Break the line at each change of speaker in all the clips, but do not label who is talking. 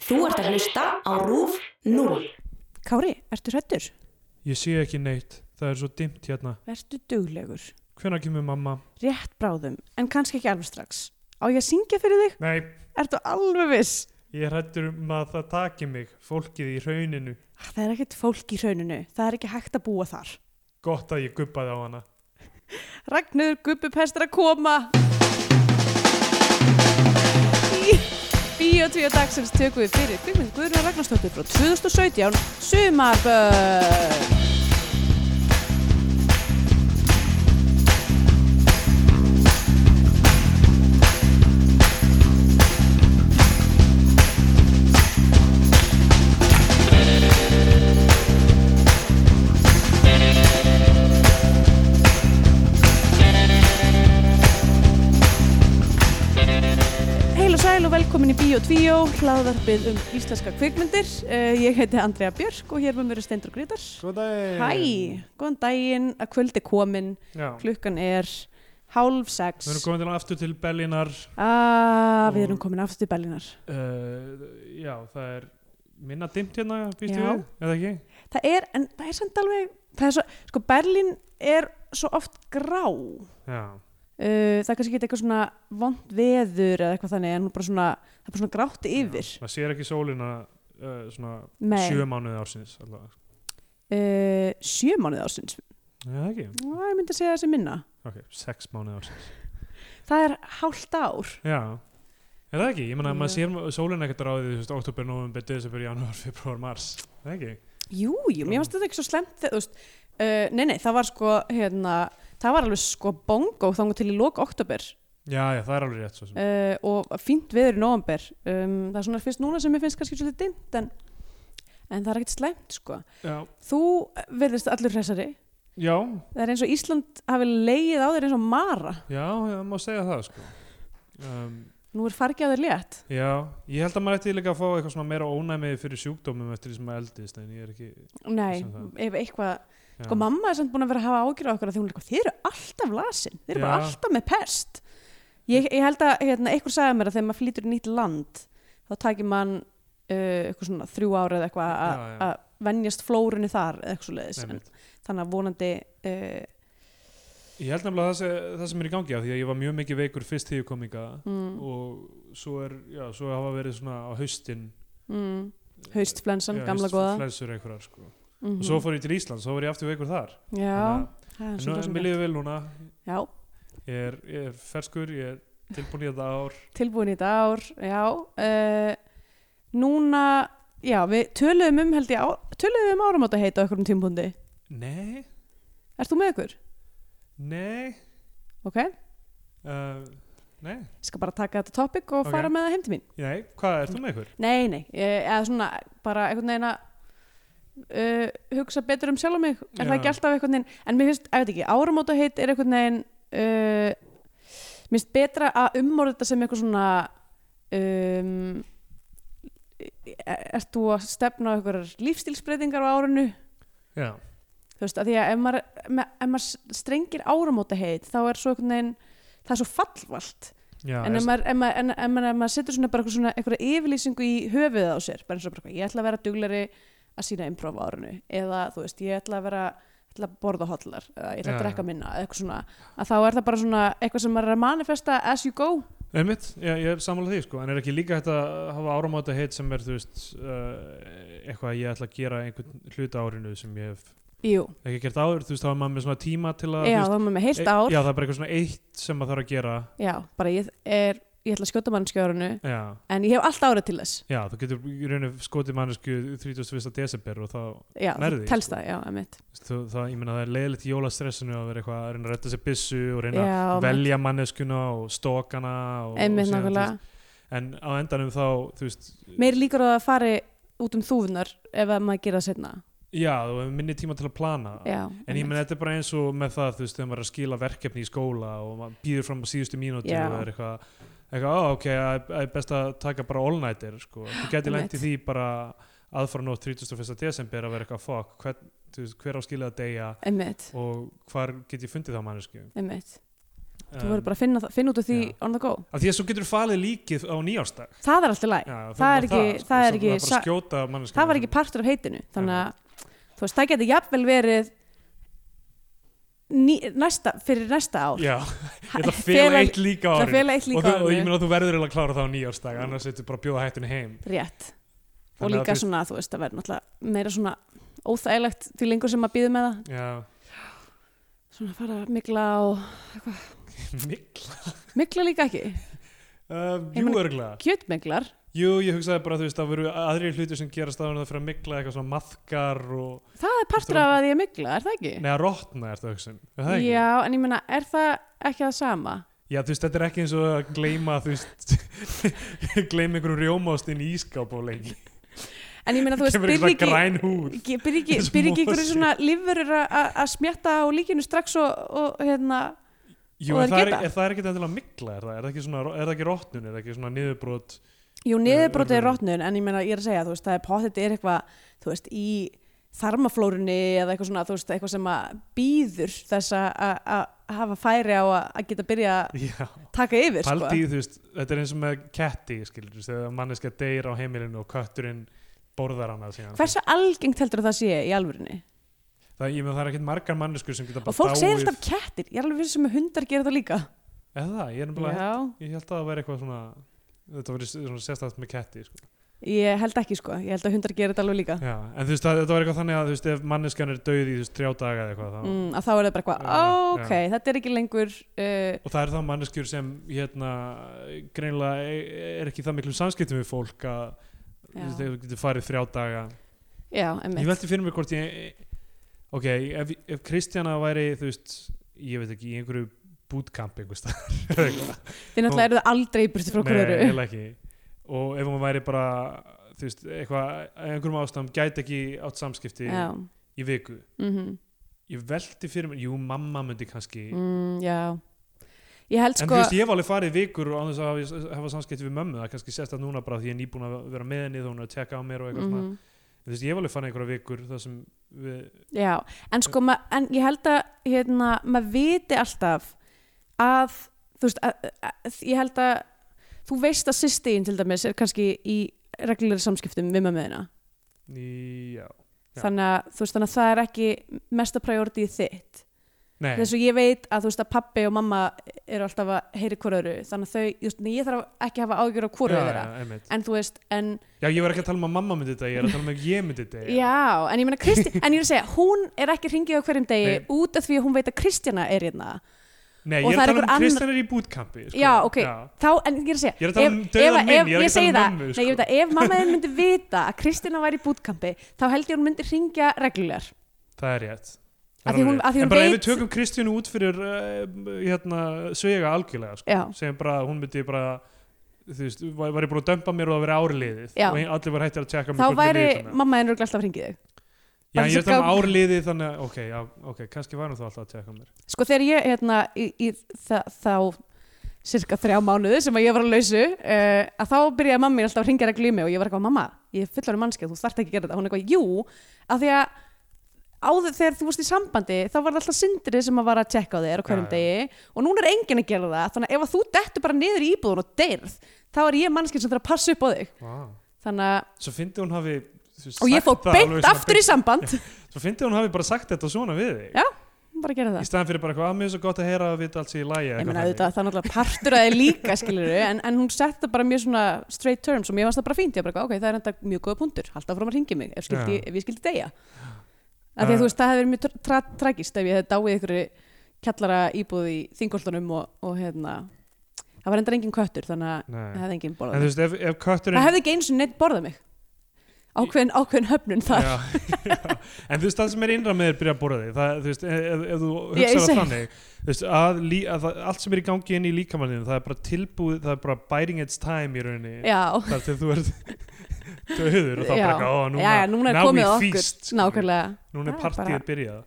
Þú ert að hlusta á RÚF 0.
Kári, ertu hrættur?
Ég sé ekki neitt, það er svo dimmt hérna.
Vertu duglegur.
Hvenær kemur mamma?
Rétt bráðum, en kannski ekki alveg strax. Á ég að syngja fyrir þig?
Nei,
Ertu alveg viss?
ég hættur um að það taki mig, fólkið í rauninu.
Ah, Það er ekkert fólk í hrauninu. Það er ekki hægt að búa þar.
Gott að ég guppaði á hana.
Ragnur, gubbupest er að koma! Bíotvíu dagsins tökum við fyrir kvikmynd Guðrún Ragnarsdóttir frá 2017 Sumarbönn Heil og sæl og velkomin í Bíotvíu hlaðvarpið um íslenska kvikmyndir Eh, Ég heiti Andrea Björk og hér með mér er Steindur Grétars
Góð daginn!
Hæ, góðan daginn, að kvöldi komin,
Já,
klukkan er hálf sex.
við erum komin til aftur til Bellinar.
Ah, við erum
Og-
komin aftur til Berlínar.
Uh, já, það er minna dimmt hérna, býst ég
Já.
við, eða ekki?
Það er, en það er samt alveg, það er svo, sko Berlín er svo oft grá.
Já,
Uh, það er kannski ekki eitthvað svona vond veður eða eitthvað þannig, en hún bara svona, það er bara svona grátt yfir.
maður sér ekki sólina uh, svona
Nei.
sjö mánuði ársins. allavega.
Uh, sjö mánuði ásins.
Já, ekki?
Ná, ég myndi að segja þessi minna.
Ok, sex mánuði ársins.
Það er hálft ár.
Já, er það ekki? Ég meina að maður
Já.
sér sólinn ekkert ráðið, þú veist, oktober, november, desember, janúar, februar, mars, er það ekki?
Jú, jú, mér finnst þetta ekki svo slemt þegar, þú veist, uh, nei, nei, það var sko, hérna, það var alveg sko bongo þangu til í loka oktober
Já, já, það er alveg rétt svo sem.
uh, og fínt veður í november. Um, það er svona fyrst núna sem mér finnst kannski svolítið dimmt, en, en það er ekkert slemt, sko.
Já,
Þú verðist allur hressari.
já,
Það er eins og Ísland hafi leið á þér eins og mara.
já, það má segja það, sko. Um,
Nú er fargið á þér létt.
já, ég held að maður ætti líka að fá eitthvað svona meira ónæmi fyrir sjúkdómum eftir því sem maður eldist, en ég er ekki...
Nei,
Sem það.
ef eitthvað,
Já.
sko mamma er samt búin að vera að hafa ágjur á okkur af því hún er eitthvað, þið eru alltaf lasin, þið eru bara
Já.
alltaf með pest. Ég, ég held að, hérna, einhver sagði mér að þegar maður flýtur í nýtt land, þá takir mann uh, eitthvað svona þrjú ára eða eitthvað að-
Já, já.
að venjast flórunni þar eða eitthvað svo leiðis.
Einmitt.
þannig að vonandi uh,
Ég held nefnilega það, sem- það sem er í gangi á því að ég var mjög mikið veikur fyrst því ég kom í
Mm.
og svo er, já, svo hafa verið svona á haustin
mm, haustflensan,
já,
gamla góða
haustflensur einhverjar, sko.
mm
Og svo fór ég til Íslands, þá var ég aftur veikur þar.
já,
Þannig að-
það er
En nú,
svolítið
mér
svona
líður vel núna,
já,
ég er, ég er ferskur, ég er tilbúin í þetta ár.
tilbúin í þetta ár já uh, núna, já, við töluðum um held ég, á, töluðum við um áramóta heita okkur um tímpundi,
Nei,
ert þú með okkur?
nei,
ok,
uh, nei,
ég skal bara taka þetta topic og
Ok.
fara með það heim til mín
nei, hvað ert þú með ykkur?
nei, nei, eh, eða svona bara einhvern veginn að Uh, hugsa betur um sjálf og mig er það
Já.
ekki alltaf einhvern veginn en mér finnst, ég veit ekki, áramóta heit er einhvern veginn uh, mér finnst betra að umorða þetta sem eitthvað svona um, er- ert þú að stefna á einhverjar lífstílsbreytingar á árinu
Já,
þú veist, að því að ef maður, me- ef maður strengir áramóta heit þá er svo einhvern veginn það er svo fallvalt
já,
en
er-
ef maður, ef maður, en, en maður, ef maður setur svona bara eitthvað svona einhverja yfirlýsingu í höfuðið á sér bara eins og bara eitthvað, ég ætla að vera duglari að sína improv á árinu eða þú veist, ég ætla að vera ætla að borða hotlar eða ég ætla að
Já.
drekka minna eða eitthvað svona að þá er það bara svona eitthvað sem maður er að manifesta as you go
einmitt, já, ég er sammála því, sko, en er ekki líka hægt að hafa áramóta heit sem er, þú veist, uh, eitthvað að ég ætla að gera einhvern hluta árinu sem ég hef
Jú,
ekki gert áður, þú veist, þá er maður með svona tíma til að,
já, þá
þú veist,
er maður með heilt
e-
ár
Já,
já,
það er bara eitthvað svona eitt sem maður þarf að gera,
bara ég er ég ætla að skjóta mannskja á árinu
já.
en ég hef allt árið til þess
Já, þú getur í rauninni skotið mannesku 31. desember og þá,
já,
Nærðu
Nærði,
því,
telst
sko.
það, já, emitt
þú, það, ég meina það er leiðilegt í jólastressinu að vera eitthvað að reyna að redda sér byssu og reyna
Já,
að
einmitt.
velja manneskuna og stókana og,
emitt
og síðan,
nákvæmlega
þú veist, en á endanum þá, þú veist
meir líkur á að það fari út um þúfunar ef að maður gera það setna
já, þú hefur minni tíma til að plana
já,
en ég
einmitt.
meina þetta er bara eins og með það þú veist, þegar maður er að skila verkefni í skóla og maður býður fram á síðustu mínútu
Já.
og það er eitthvað, eitthvað á, ok, það er best að taka bara all-nighter, sko þú gæti lent í því bara aðfara nótt 31. desember að vera eitthvað, fuck hver, veist, hver á skilið að deyja
Einmitt,
og hvar get ég fundið þá mannesku
einmitt. þú verður bara að finna, það- finna út úr því
Já.
on the go
Af því að svo getur falið líkið á nýjársdag
það er alltaf læg,
Já, þá
Það er
maður
ekki-
sko,
það er
svo
ekki
maður bara
sa-
skjóta manneskjuna.
það var ekki partur af heitinu þannig að þú veist, það getur jafnvel verið ný, næsta, fyrir næsta ár
Já, ég ætla að fela
Fela-
eitt líka á
það
árinu
fela eitt
og,
líka
þú,
á
og ég
árinu.
meina að þú verður eiginlega að klára það á nýjársdag annars ertu bara að bjóða hættunni heim
rétt og
Þannig að
líka
þú-
svona, þú veist, það verður náttúrulega meira svona óþægilegt því lengur sem maður býður með það
Já,
svona fara að mikla og
mikl
mikla líka ekki,
uh,
Ég
Jú,
meina-
örglega
kjötmiklar
Jú, ég hugsaði bara, þú veist, það veru aðrir hlutir sem gerast áður en það fyrir að mikla eitthvað svona maðkar og,
það er partur af að ég mikla, er það ekki?
neða, rotna ertu að hugsa um, er það ekki?
já, en ég meina, er það ekki það sama?
Já, þú veist, þetta er ekki eins og að gleyma, þú veist, gleyma einhverjum rjómástinn í ískáp og lengi.
en ég meina, þú veist,
Kemur
byrði
einhverjum
ekki
græn húð.
Ekki- byrja ekki,
Eins og
byrja ekki
mosi.
einhverju svona lífurur að smjatta á líkinu strax og, og hérna
Jú,
Og
en
þær
það er,
geta.
er, það er ekki endilega mikla, er það, er það ekki svona, er það ekki rótnun, er það ekki svona niðurbrot?
jú, niðurbrotið er
Örvun.
rótnun en ég meina, ég er að segja, þú veist, það er pottet er eitthvað, þú veist, í þarmaflórunni eða eitthvað svona, þú veist, eitthvað sem að býður þess að- að að hafa færi á að að geta byrja að
Já,
taka yfir, sko
paldi, þú veist, þetta er eins og með ketti, skilur, þú veist, þegar manneska deyr á heimilinu og kötturinn borðar hana síðan.
hversu algengt heldur það sé í alvörinni
Það, ég með það er ekkert margar manneskur sem geta bara
og fólk segir alltaf kettir, ég er alveg vissum með hundar gera það líka
Eða það, ég er nefnilega,
já,
ég held að það væri eitthvað svona, þetta væri svona sérstætt með ketti, sko.
ég held ekki, sko ég held að hundar gera þetta alveg líka
Já, en þú veist, það, þetta var eitthvað þannig að þú veist, ef manneskjan er döið í þú veist, þrjá daga eða eitthvað þá,
mm, að þá er það bara eitthvað,
Já,
ok, þetta er ekki lengur uh,
og það er þá manneskjur sem hérna, greinilega e- er ekki í það miklum samskiptum við fólk að þú veist,
Já,
þau getur farið þrjá daga
já
ég
emmitt
velti fyrir mér hvort ég ok, ef, ef Kristjana væri þú veist, ég veit ekki, í einhverju bootcamp einhvers staðar eða eitthvað.
Þið náttúrulega eru það aldrei í burtu frá
Nei,
hverju eru
eiginlega ekki og ef hún væri bara þú veist, eitthvað, einhverjum ástæðum gæti ekki átt samskipti
Já,
í viku
mm
ég velti fyrir mér, jú, mamma myndi kannski
mm, já Ég held
En
sko
þú veist, ég hef alveg farið vikur á þess að hafa, hafa samskipti við mömmu, það er kannski sérstætt núna bara því ég er nýbúin að vera með henni þá hún er að tjekka á mér og eitthvað mm
mhm,
En þú veist, ég hef alveg farið einhverja vikur þar sem við,
Já, en sko ma, en ég held að hérna, maður viti alltaf að þú veist, að, að, ég held að þú veist að sýstin til dæmis er kannski í reglulegri samskiptum við maður með hérna
í, já, Já.
þannig að, þú veist, þannig að það er ekki mesta priority þitt
nei,
þess að ég veit að þú veist að pappi og mamma eru alltaf að heyri hvora öru þannig að þau, just, ég þarf ekki að hafa ágjör á hvora
já,
þeirra
já, einmitt.
en þú veist, en
Já, ég var ekki að tala um að mamma myndi þetta, ég er að tala um að ég myndi þetta.
já, en ég meina Kristi, en ég er að segja, hún er ekki hringið á hverjum degi
Nei.
út af því að hún veit að Kristjana er hérna,
Nei,
Og
ég er
það
að
er
tala um
einhver
Kristján er í bútkampi. Sko.
Já, ok. þá, en ég er að segja
Ég er að tala um
ef-
dauðan
ef- ef-
minn, ég er ekki að
segi
tala um
það,
mömmu,
nei, ég veit að ef mamma þinn myndi vita að Kristjana væri í bútkampi, þá held ég að hún myndi hringja reglulegar,
Það er rétt.
Af því hún- af því hún
en bara ef
veit-
við tökum Kristjánu út fyrir uh, hérna, svega algjörlega sko.
Já.
sem bara, hún myndi bara þú veist, var, var ég búin að dömpa mér og það veri árliðið
Já.
og ein- allir var hættir að tjekka mig
þá
hvort ég
væri
liði þarna.
mamma þinn örugglega alltaf hringið þig
Já,
bara
ég
þessi
er að tala um
gang-
árliðið þannig, að- ok, já, ok, kannski var hún þá alltaf að tjekka mér
sko þegar ég hérna í, í þa þá cirka þrjá mánuði sem að ég var að lausu uh, að þá byrjaði mamma mín alltaf að ringja reglu í mig og ég var eitthvað mamma, ég er fullar um mannskja þú þarft ekki að gera þetta, hún er eitthvað, jú að því að áður þegar þú varst í sambandi þá var það alltaf sindri sem að var að tjekka á þér á hverjum
Já, já.
degi og núna er enginn að gera það þannig að ef að þú dettur bara niður í íbúðun og deyrð þá er ég mannskja sem þarf að passa upp á þig
wow.
þannig að,
Svo fyndi hún hafi þú veist,
og ég
sagt
fór
það alveg
beint
svona
aftur í samband
Svo fyndi hún hafi bara sagt þetta svona við þig
Já. bara að gera það
Í staðan fyrir bara eitthvað, að mér er svo gott að heyra að vita allt sér í lagi
Ég meina auðvitað það er náttúrulega partur að þið líka skilur en, en hún setti bara mjög svona straight terms og mér varst það bara fínt, ég bara ok, það er enda mjög góða punktur, halda fram að ringja mig ef, skildi,
Já. Uh.
ef ég skildi deyja af því að
Já.
þú veist, það hefur verið mjög tra tra tragist ef ég hefði dáið ykkur kjallara íbúð í þingoltunum og, og hérna það var enda engin köttur þannig að
Nei.
það hefði engin borðað
En þú
mig
veist, ef, ef kötturinn
það hefði ekki eins og neitt borðað mig ákveðin, ákveðin höfnun þar
já, já. en þú veist það sem er innra með þér byrja að borða þig það, þú veist, ef, ef- ef þú
Ég- ég
hugsaður
segi-
það þannig þú veist, að, lí, að það, allt sem er í gangi inn í líkamanninu það er bara tilbúið, það er bara biting its time í rauninni,
já.
þar til þú ert döður og það er bara
Já.
eitthvað, ó, núna,
já, já, núna er
now
komið
we
að okkur
feast, skilur.
nákvæmlega
núna er
Það er
partíið
bara-
byrjað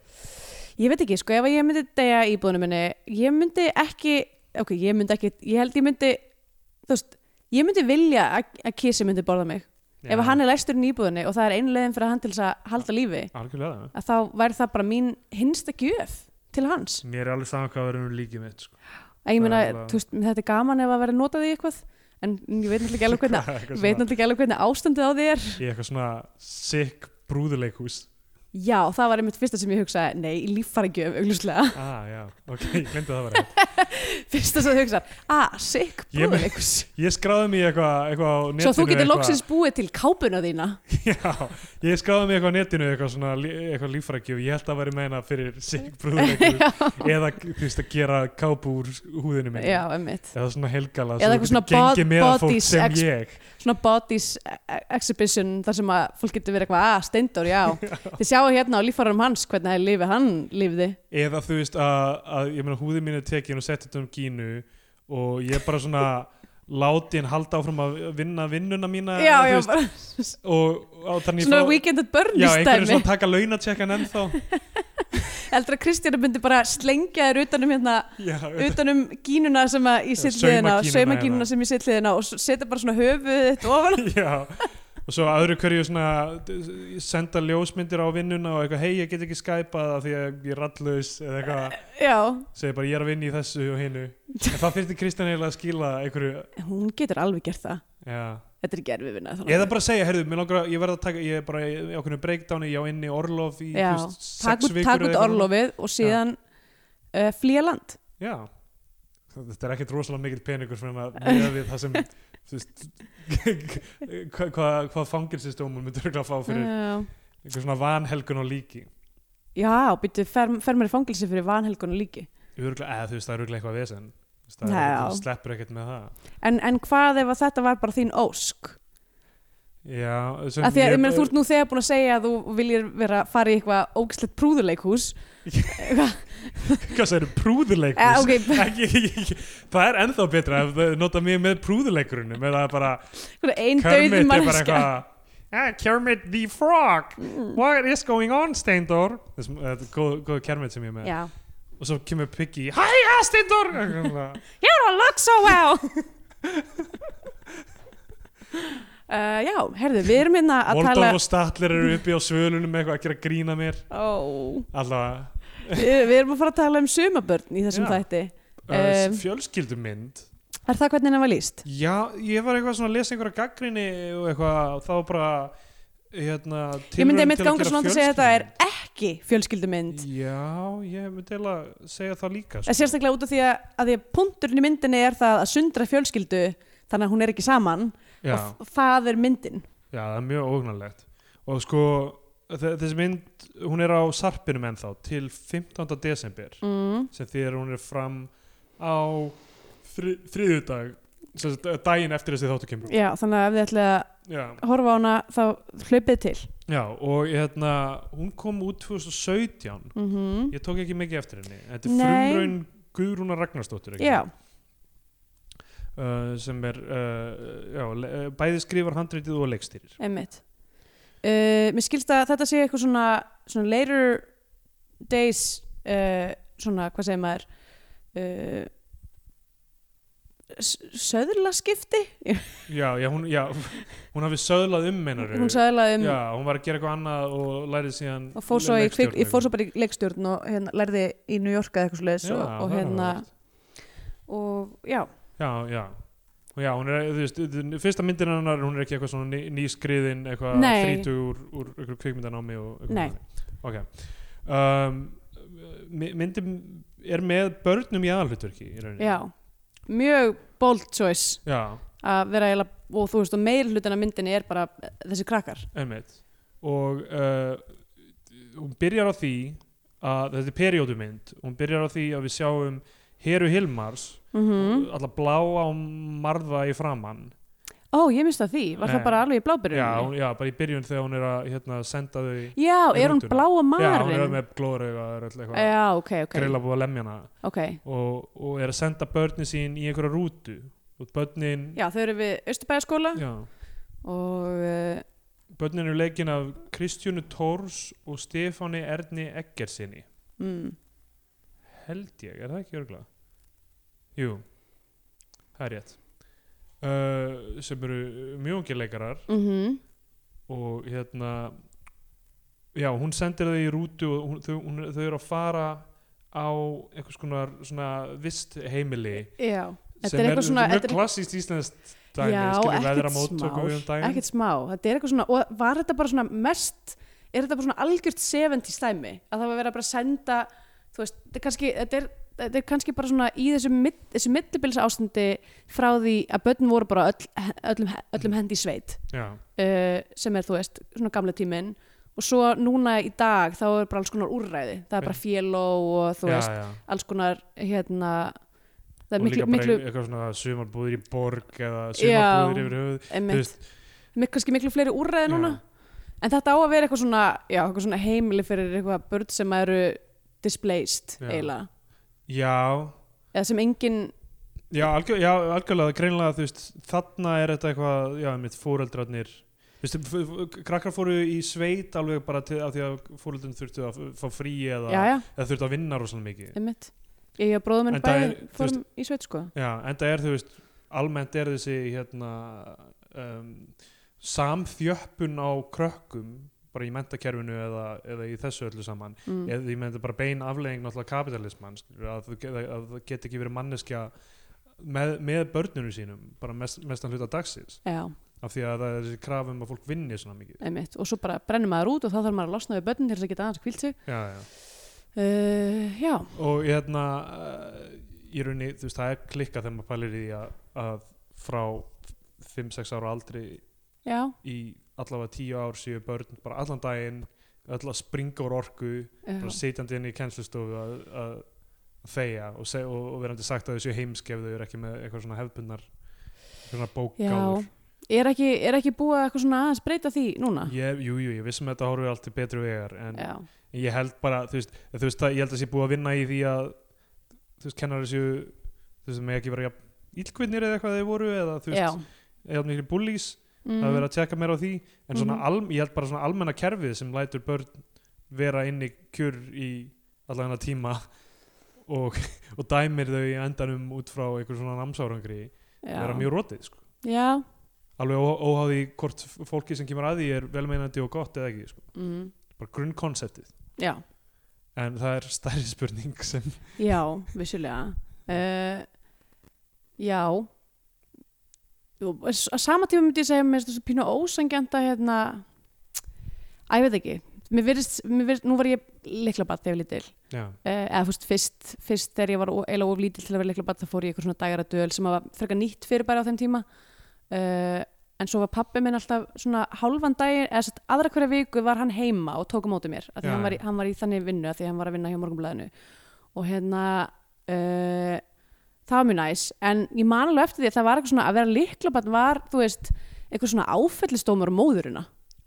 Ég veit ekki, sko, ef að ég myndi degja íbúðunum minni, ég myndi ekki, ok, ég myndi ekki, ég held ég myndi, þú veist, ég myndi vilja að, að kísi myndi borða mig. Ef að hann er læsturinn í íbúðunni og það er einu leiðin fyrir að hann til þess að halda lífi,
algjörlega,
að þá væri það bara mín hinsta gjöf til hans.
mér er alveg saman hvað verður um líkið mitt sko.
að ég meina,
Það er alveg-
þú veist, þetta er gaman ef að vera notað í eitthvað en ég veit náttúrulega ekki alveg hvernig
Eitthvað
veit
svona-
náttúrulega ekki alveg hvernig ástandið á þér
Í eitthvað svona sick brúðuleikhús
já, það var einmitt fyrsta sem ég hugsaði nei, í líffæragjöf, augljóslega
Ah, já, ok, ég glemdi að það var rétt
fyrsta sem ég hugsaði, ah, sick,
Ég meina-
brúðuleikus
Ég skráði mig í eitthvað eitthvað á netinu
svo þú getur
eitthvað-
loksins búið til kápuna þína
Já, ég skráði mig eitthvað á netinu eitthvað svona, lí- eitthvað líffrækju ég held að væri meina fyrir sick brúðuleikhús eða, þú veist, að gera kápu úr húðinu minni
já, einmitt
eða svona helgala
Eða eitthvað
svo þú getur
svona
gengið
bod-
með fólk
bodies
sem
ex-
ég
svona bodies e- exhibition þar sem að fólk getur verið eitthvað, að steindur, já þið sjáu hérna á líffarum hans hvernig að lifi hann lifði
eða þú veist að, að ég meina húðin mín er tekin og sett þetta um kínu og ég er bara svona látin halda áfram að vinna vinnuna mína
já,
eða, Ah, þú
já,
veist,
bara,
og, og þannig
svona
ég fá-
weekend at Bernie
Já, einhverjum
stæmi
svona taka launatjekkan ennþá
heldur að Kristjana myndi bara slengja þér utanum hérna
Já,
utanum gínuna sem að ég sitt hliðina
Saumagínuna,
saumagínuna
já.
sem ég sitt hliðina og s- setja bara svona höfuðið þitt ofan
Já, og svo öðru hverju svona d- senda ljósmyndir á vinnuna og eitthvað, hei, ég get ekki skæpað af því að ég er rallus eða eitthvað,
já,
segir bara ég er að vinna í þessu og hinu. En það þyrfti Kristján eiginlega að skila einhverju,
hún getur alveg gert það
já.
þetta er gerfi vinna
Eða bara segja, heyrðu, mér langar að, ég verð að taka, ég er bara í í ákveðinu breakdowni, ég á inni orlof í,
Já,
þú veist,
takk
sex
út,
vikur.
tak
eða
út
eitthvað.
orlofið og síðan uh, flýja land
Já, þetta er ekkert rosalega mikill peningur fyrir að meða við það sem, þú veist, hvað hva, hva fangilsistómum myndur að fá fyrir
já,
einhver svona vanhelgun á líki.
já býttu fer, fer mér í fangelsi fyrir vanhelgun líki
Örgla, eða þú veist, það er örgulega eitthvað vesen Þú veist,
Já.
það er, þú sleppur ekkert með það
en, en hvað ef að þetta var bara þín ósk
já, sem
af því að
ég-
ég, meina, þú ert nú þegar búin að segja að þú viljir vera að fara í eitthvað ógislegt prúðuleikhús
hvað það eru prúðuleikus
Eh, ok.
ekki, ekki, ekki, það er ennþá betra ef þau nota mig með prúðuleikurunum eða bara
ein
Kermit
döðum
er bara
mannska
eitthvað Ah, Kermit the Frog
Mm.
What is going on, Steindor? Þessum, eh, Þetta er góð, góð Kermit sem ég er með
já,
Og svo kemur Piggy Hæja, Steindor! Eitthvað svona.
you're a look so well uh, já, herðu, við erum hérna að
Voldov
tala
og Statler eru uppi á svölunum eitthvað að gera grína mér
ó,
Allavega
við, við erum að fara að tala um sumabörn í þessum
Já.
þætti
uh,
Um.
Fjölskyldumynd
er það hvernig hennar var líst?
Já, ég var eitthvað svona að lesa einhverja gaggrinni og eitthvað, það var bara hérna,
ég myndi
tilraun
einmitt
til að
ganga
gera
svona að segja að þetta er
fjölskyldu.
ekki fjölskyldumynd
Já, ég myndi eiginlega segja það líka sko.
en sérstaklega út af því að, að því að punkturinn í myndinni er það að sundra fjölskyldu þannig að hún er ekki saman
já,
og f- það er myndin
já, það er mjög ógnarlegt og sko, þe- þessi mynd hún er á sarpinum ennþá til 15. desember
mm.
sem þýðir að hún er fram á þri, þriðjudag sem sagt, daginn eftir þessi þáttu kemur
já, þannig að ef þið ætlaði að
Já,
horfa á hana þá hlaupið til
já og hérna hún kom út 2017
mm
Ég tók ekki mikið eftir henni. Þetta er
Nei.
frumraun Guðrúnar Ragnarsdóttir ekki?
já,
Uh, sem er, uh, já, le- uh, bæði skrifar handritið og leikstýrir.
einmitt uh, mér skilst að þetta sé eitthvað svona, svona later days uh, svona, hvað segir maður uh, söðla skipti
Já, já, hún, já, hún hafi söðlað um meinar.
hún söðla um
Já, hún var að gera eitthvað annað og lærið síðan
og fór svo, í,
leikstjórn
kvik, ég fór svo bara
eitthvað.
í leikstjórn og hérna, lærði í New York eða eitthvað svoleiðis
Já,
og, og
það er
hérna
áhugavert.
og já,
Já, já. Og já, hún er, þú veist, þetta er- fyrsta myndin hennar, hún er ekki eitthvað svona ný, nýskriðin, eitthvað
Nei.
þrítu úr, úr eitthvað kvikmyndanámi og eitthvað.
Nei.
þannig. Ok. Um, my- myndin er með börnum í aðalhutverki í rauninni.
já mjög bold choice
Já,
að vera eiginlega, og þú veist, og meir hlutin af myndinni er bara eh, þessi krakkar
Einmitt. og uh, hún byrjar á því að þetta er periódumynd hún byrjar á því að við sjáum Heru Hilmars
mm
alla blá á marða í framann
ó, ég minnst það því, var
Nei.
það bara alveg í
já,
blábyrjunni
hún, já, bara í byrjun þegar hún er að hérna, senda þau
já,
Í
er hún
rútuna.
bláa
já, hún er
marin
með glóðrauga og er öll eitthvað
já, ok, ok,
grilla búið að lemja hana
ok
og, og er að senda börnin sín í einhverja rútu og börnin
já, þau eru við Östubæðaskóla
já,
og uh,
börnin eru leikin af Kristjánu Tórs og Stefáni Erni Eggersinni
mm,
held ég, er það ekki örgla? Jú, það er rétt uh, sem eru mjög ungir leikarar
mm
og hérna já, hún sendir þau í rútu og hún, þau, hún, þau eru að fara á einhvers konar svona vist heimili
já, þetta er
sem er,
eitthvað svona
mjög
þetta er-
klassíst íslenskt dæmi
Já,
skilur
ekkert
veðramóttöku
smál,
um daginn
ekkert smá, þetta er eitthvað svona og var þetta bara svona mest er þetta bara svona algjört 70 stæmi að það var verið að bara senda þú veist, þetta er kannski, þetta er, þetta er kannski bara svona í þessu, mid, þessu millibils ástandi frá því að börn voru bara öll, öllum, öllum hendi í sveit
já,
uh, sem er, þú veist, svona gamla tíminn og svo núna í dag þá er bara alls konar úrræði, það er bara féló og þú
já,
veist,
já.
alls konar hérna, það
og
er miklu,
líka bara
miklu
eitthvað svona sumarbúðir í borg eða
Já.
sumarbúðir yfir höfuð
einmitt,
veist.
Mik kannski miklu fleiri úrræði núna en þetta á að vera eitthvað svona, já, eitthvað svona heimili fyrir eitthvað börn sem eru displaced
Já.
eiginlega
já,
eða sem engin,
já, algjör, já algjörlega greinlega þú veist, þarna er þetta eitthvað já, mitt fóreldrarnir þú veist, f- f- krakkar fóru í sveit alveg bara til, af því að fóreldrarnir þurftu að f- fá frí eða,
já, já,
eða þurftu að vinna rosalega mikið
einmitt ég og bróðum
En
minn
það
bæði
er, þú
fórum í sveit sko
já, en það er þú veist almennt er þessi hérna um, samþjöppun á krökkum bara í mentakerfinu eða, eða í þessu öllu saman
mm.
eða ég meina þetta er bara bein aflegging náttúrulega kapitalismann skilur, að, þú get- að það get ekki verið manneskja með, með börnunum sínum bara mest, mestan hluta dagsins
já,
af því að það er þessi krafum að fólk vinni svona mikið
einmitt, og svo bara brennir maður út og þá þarf maður að losna við börnin til þess að geta aðeins kvílt sig
já, já.
uh, já,
og ég hérna eh, í raunni, þú veist, það er klikka þegar maður pælir í því að, að frá 5-6 ára aldri
já,
í allavega 10 ár séu börn bara allan daginn öll að springa úr orku
já.
bara sitjandi inn í kennslustofu að, að þegja og, seg, og, og verandi sagt að þessu heimskef þau eru ekki með eitthvað svona hefbundnar eitthvað svona bókgáður
er ekki, er ekki búið að eitthvað svona aðeins breyta því núna
ég, jú, jú, ég vissum að þetta horfið allt til betri vegar en
ah. já,
ég held bara, þú veist, þú veist að, ég held að sé búið að vinna í því að þú veist, kennar þessu þú veist, með ekki vera jafn íllkvinnir eða eitthvað þau voru eða þú
já
veist, eða miklu búlís það er
mm.
verið að tjekka meira á því en svona,
Mhm.
alm, ég held bara svona almenna kerfið sem lætur börn vera inn í kjur í allan hennar tíma og, og dæmir þau í endanum út frá einhver svona námsárangri vera
Mm, já.
mjög rótið sko.
já.
alveg ó- óháð í hvort f- fólki sem kemur að því er velmeinandi og gott eða ekki sko.
Mm.
bara grunnkonseptið
já
en það er stærri spurning sem
Já, vissulega uh, Já Jú, s- á sama tíma myndi ég segja mér þessu pínu ósangjanta hérna Æ, ég veit ekki mér virðist, mér virðist, Nú var ég liklabatt þegar ég var lítil
já,
uh, eða fúst, fyrst, fyrst þegar ég var o- eiginlega of lítil til að vera liklabatt þá fór ég í eitthvað svona dagara döl sem var frekar nýtt fyrir bara á þeim tíma uh, en svo var pappi minn alltaf svona hálfan daginn, eða satt, aðra hverja viku var hann heima og tók á móti mér af því
Já,
hann var, í,
já.
hann var í þannig vinnu af því hann var að vinna hjá morgunblæðinu og hérna uh, það var mjög næs en ég man alveg eftir því að það var eitthvað svona að vera liklabatt var, þú veist, eitthvað svona áfellistómur á móðurina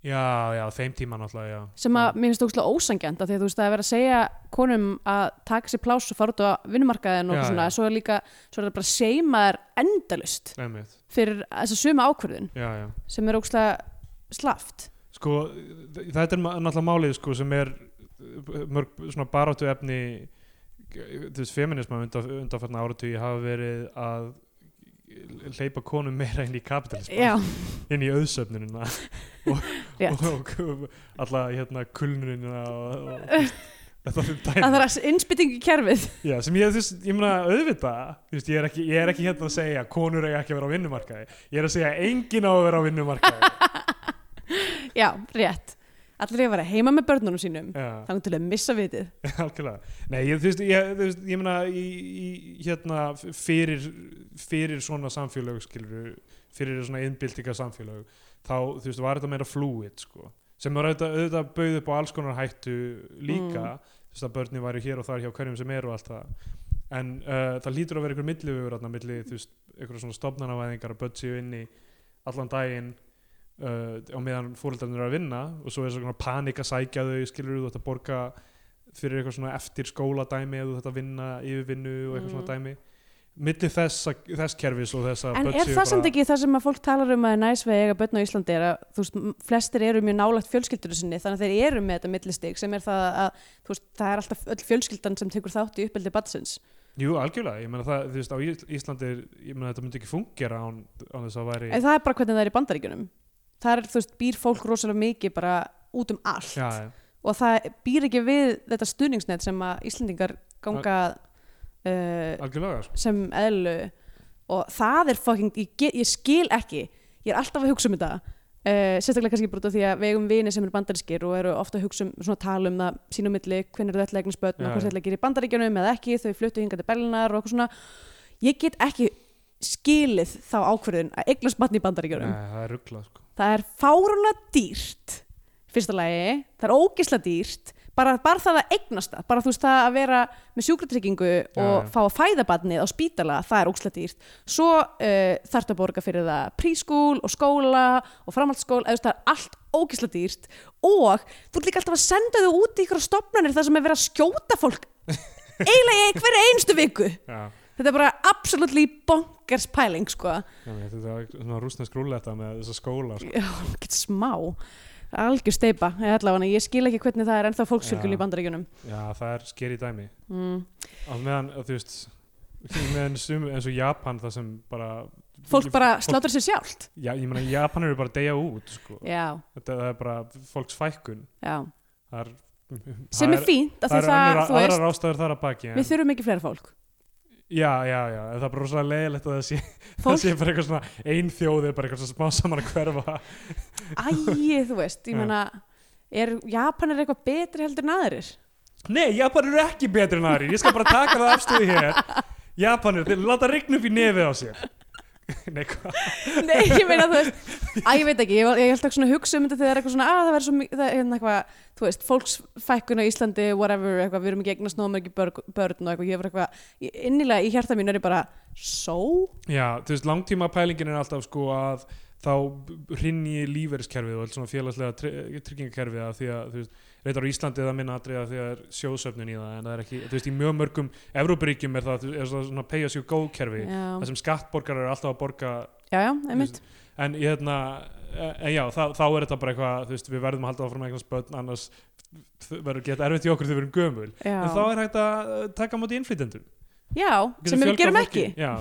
já, já, þeim tíma náttúrulega já.
sem að mér finnst ógustlega ósangjant af því að þú veist að vera að segja konum að taka sér pláss og fara út á vinnumarkaðin og
Já,
eitthvað svona,
já.
svo er líka svo er það bara seimaður endalust
Einmitt.
fyrir þessa suma ákvörðun
já, já
sem er ógustlega slaft
sko, þ- þetta er ma- náttúrulega málið sko, sem er uh, mörg svona baráttu efni þú veist, feminisma undan, undanfarna áratugi hafa verið að hleypa konum meira inn í kapitalism
Já,
inn í auðsöfnunina
rétt
og, og alla hérna kulnunina og, og þú veist, þetta fyrir
að það
dæmi
er að innspytting í kerfið
Já, sem ég, þú veist, ég meina auðvita veist, ég, er ekki, ég er ekki hérna að segja að konur eiga ekki að vera á vinnumarkaði ég er að segja að enginn á að vera á vinnumarkaði
Já, rétt Allir ég að vera heima með börnunum sínum
Já.
þannig til að missa vitið
algjörlega, nei ég, þú veist ég, þú veist, ég meina í, í, hérna f- fyrir, fyrir svona samfélög skilur, fyrir svona innbyltinga samfélög, þá þú veist var þetta meira fluid sko, sem var auðvitað, auðvitað bauð upp á alls konar hættu líka, þú veist að börni væri hér og þar hjá hverjum sem er og allt það en uh, það lítur að vera einhver millivegur þarna milli, þú veist, einhverja svona stofnanavæðingar að börn séu inni allan daginn uh, á meðan fóreldarnir eru að vinna og svo er svona panik að sækja þau skilur þú þetta borga fyrir eitthvað svona eftir skóla dæmi eða þú þetta vinna yfirvinnu og eitthvað svona dæmi milli þess, þess kerfis og þess að
Mm. En
börn
er
séu
það samt
bara-
ekki það sem að fólk talar um að er næs við að eiga börn á Íslandi er að þú veist, m- flestir eru mjög nálægt fjölskyldunum sinni þannig að þeir eru með þetta millistig sem er það að þú veist, það er alltaf öll fjölskyldan sem tekur þátt í uppeldi badsins.
Jú, algjörlega, ég meina það, þú veist, á Ís- Íslandi er- ég meina þetta myndi ekki fungera án, án þess að væri
En það er bara hvernig það er í bandaríkjunum. Það er, þú veist, býr fólk rosalega mikið bara út um allt
já, já,
og það býr ekki við þetta stuðningsnet sem að Íslandingar ganga uh,
algjörlega sko.
sem eðlu og það er fucking, ég, get, ég skil ekki ég er alltaf að hugsa um þetta uh, sérstaklega kannski bara út af því að við eigum vini sem eru bandarískir og eru ofta að hugsa um svona tala um það sín á milli, hvernig eru þetta eignisbötn
Já,
og hvað
já.
þetta gerir í bandaríkjunum eða ekki þau fluttu hingað til Berlinar og eitthvað svona ég get ekki skilið þá ákvörðun að eignast batn í bandaríkjunum
Nei, það er rugglað sko.
það er fáránlega dýrt fyrsta lagi, það er ógisla dýrt bara, bara það að eignast það bara þú veist það að vera með sjúkratryggingu og
já.
fá að fæða badnið á spítala það er ógisla dýrt svo uh, þarf að borga fyrir það prískúl og skóla og framhaldsskól eða þú veist það er allt ógisla dýrt og þú ert líka alltaf að senda þau út í ykkur stopnarnir þar sem er verið að skjóta fólk eiginlega í hverju einstu viku
já,
þetta er bara absolutely bonkers pæling sko
já, mér, þetta er svona rúsnesk rúlletta með þessa skóla sko.
Já, ekkert smá algjör steipa, ég ætla hana ég skil ekki hvernig það er ennþá fólksfjölgun í
Já.
bandaríkjunum
já, það er skeri dæmi
mm.
á meðan, þú veist í meðan sum, eins og Japan það sem bara
fólk bara
Fólk-
slátur sér sjálft
já, ég meina, Japan eru bara að deyja út sko.
já,
þetta það er bara fólksfækkun
já,
það er
sem er fínt af því
það er
það,
aðra,
þú
aðra
veist,
rástaður þar að baki en,
við þurfum ekki fleira fólk
já, já, já, en það er bara rosalega leiðilegt að það sé, það
fólk,
sé bara eitthvað svona ein þjóð er bara eitthvað svona smá saman að hverfa
ægi, þú veist ég
Já.
meina, er Japan er eitthvað betri heldur en aðrir
nei, Japan eru ekki betri en aðri ég skal bara taka það afstöðu hér Japan eru, þeir láta rigna upp í nefið á sér nei, hvað
Nei, ég meina, þú veist, að ég veit ekki, ég, var- ég held ekki svona að hugsa um þetta þegar það er eitthvað svona, að það verður svo mikið, það er hérna eitthvað, þú veist, fólksfækkun á Íslandi, whatever, eitthvað, við erum ekki eignast nóg mörgir börg, börn og eitthvað, ég var eitthvað, ég- innilega í hjarta mín er ég bara, so?
já, þú veist, langtíma pælingin er alltaf sko að þá hrinni lífeyriskerfið og allt svona félagslega try- tryggingakerfið af því að, þú veist, reyndar á Íslandi er það minna atriða því að það er sjóðsöfnun í það en það er ekki, þú veist, í mjög mörgum Evrópuríkjum er það, þú veist, er það svona pay as you go kerfi
Já,
það sem skattborgar eru alltaf að borga
já, já, einmitt,
en ég hérna en já, þá, þá er þetta bara eitthvað þú veist, við verðum að halda áfram eignast börn annars þ- verður geta erfitt í okkur þegar við erum gömul
já,
en þá er hægt að uh, taka á móti innflytjendum
já, sem við gerum ekki.
já,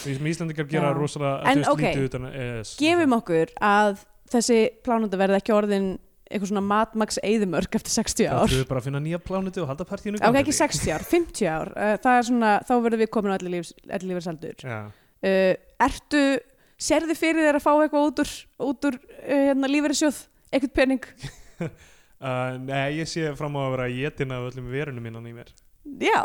því sem Íslandingar gera
Já.
rosalega
En
þú veist,
ok,
lítið utan ES
Gefum okkur að þessi plánunda verði ekki orðin eitthvað svona matmaks eyðumörk eftir 60
þá
ár.
þurfum við bara að finna nýja plánutu og halda partíinu
Ok, ekki 60 ár, 50 ár. Uh, það er svona, þá verðum við komin á ellilífarsaldur.
já,
uh, ertu, sérðu fyrir þér að fá eitthvað út úr, út úr uh, hérna, lífeyrissjóð, eitthvað pening
uh, nei, ég sé fram á að vera jetin af öllum verunum minnan í mér
já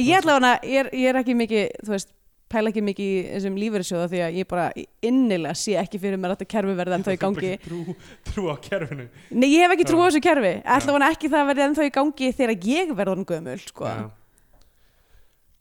ég ætla hana, ég er, ég er ekki mikið þú veist, pæla ekki mikið í þessum lífeyrissjóða því að ég bara innilega sé ekki fyrir mér að þetta kerfi verði ennþá í
Það er
gangi
bara ekki trú, trú á kerfinu
nei, ég hef ekki trú á
Já.
þessu kerfi, ætla hana ekki það verði ennþá í gangi þegar ég verði hann gömul sko.
Já.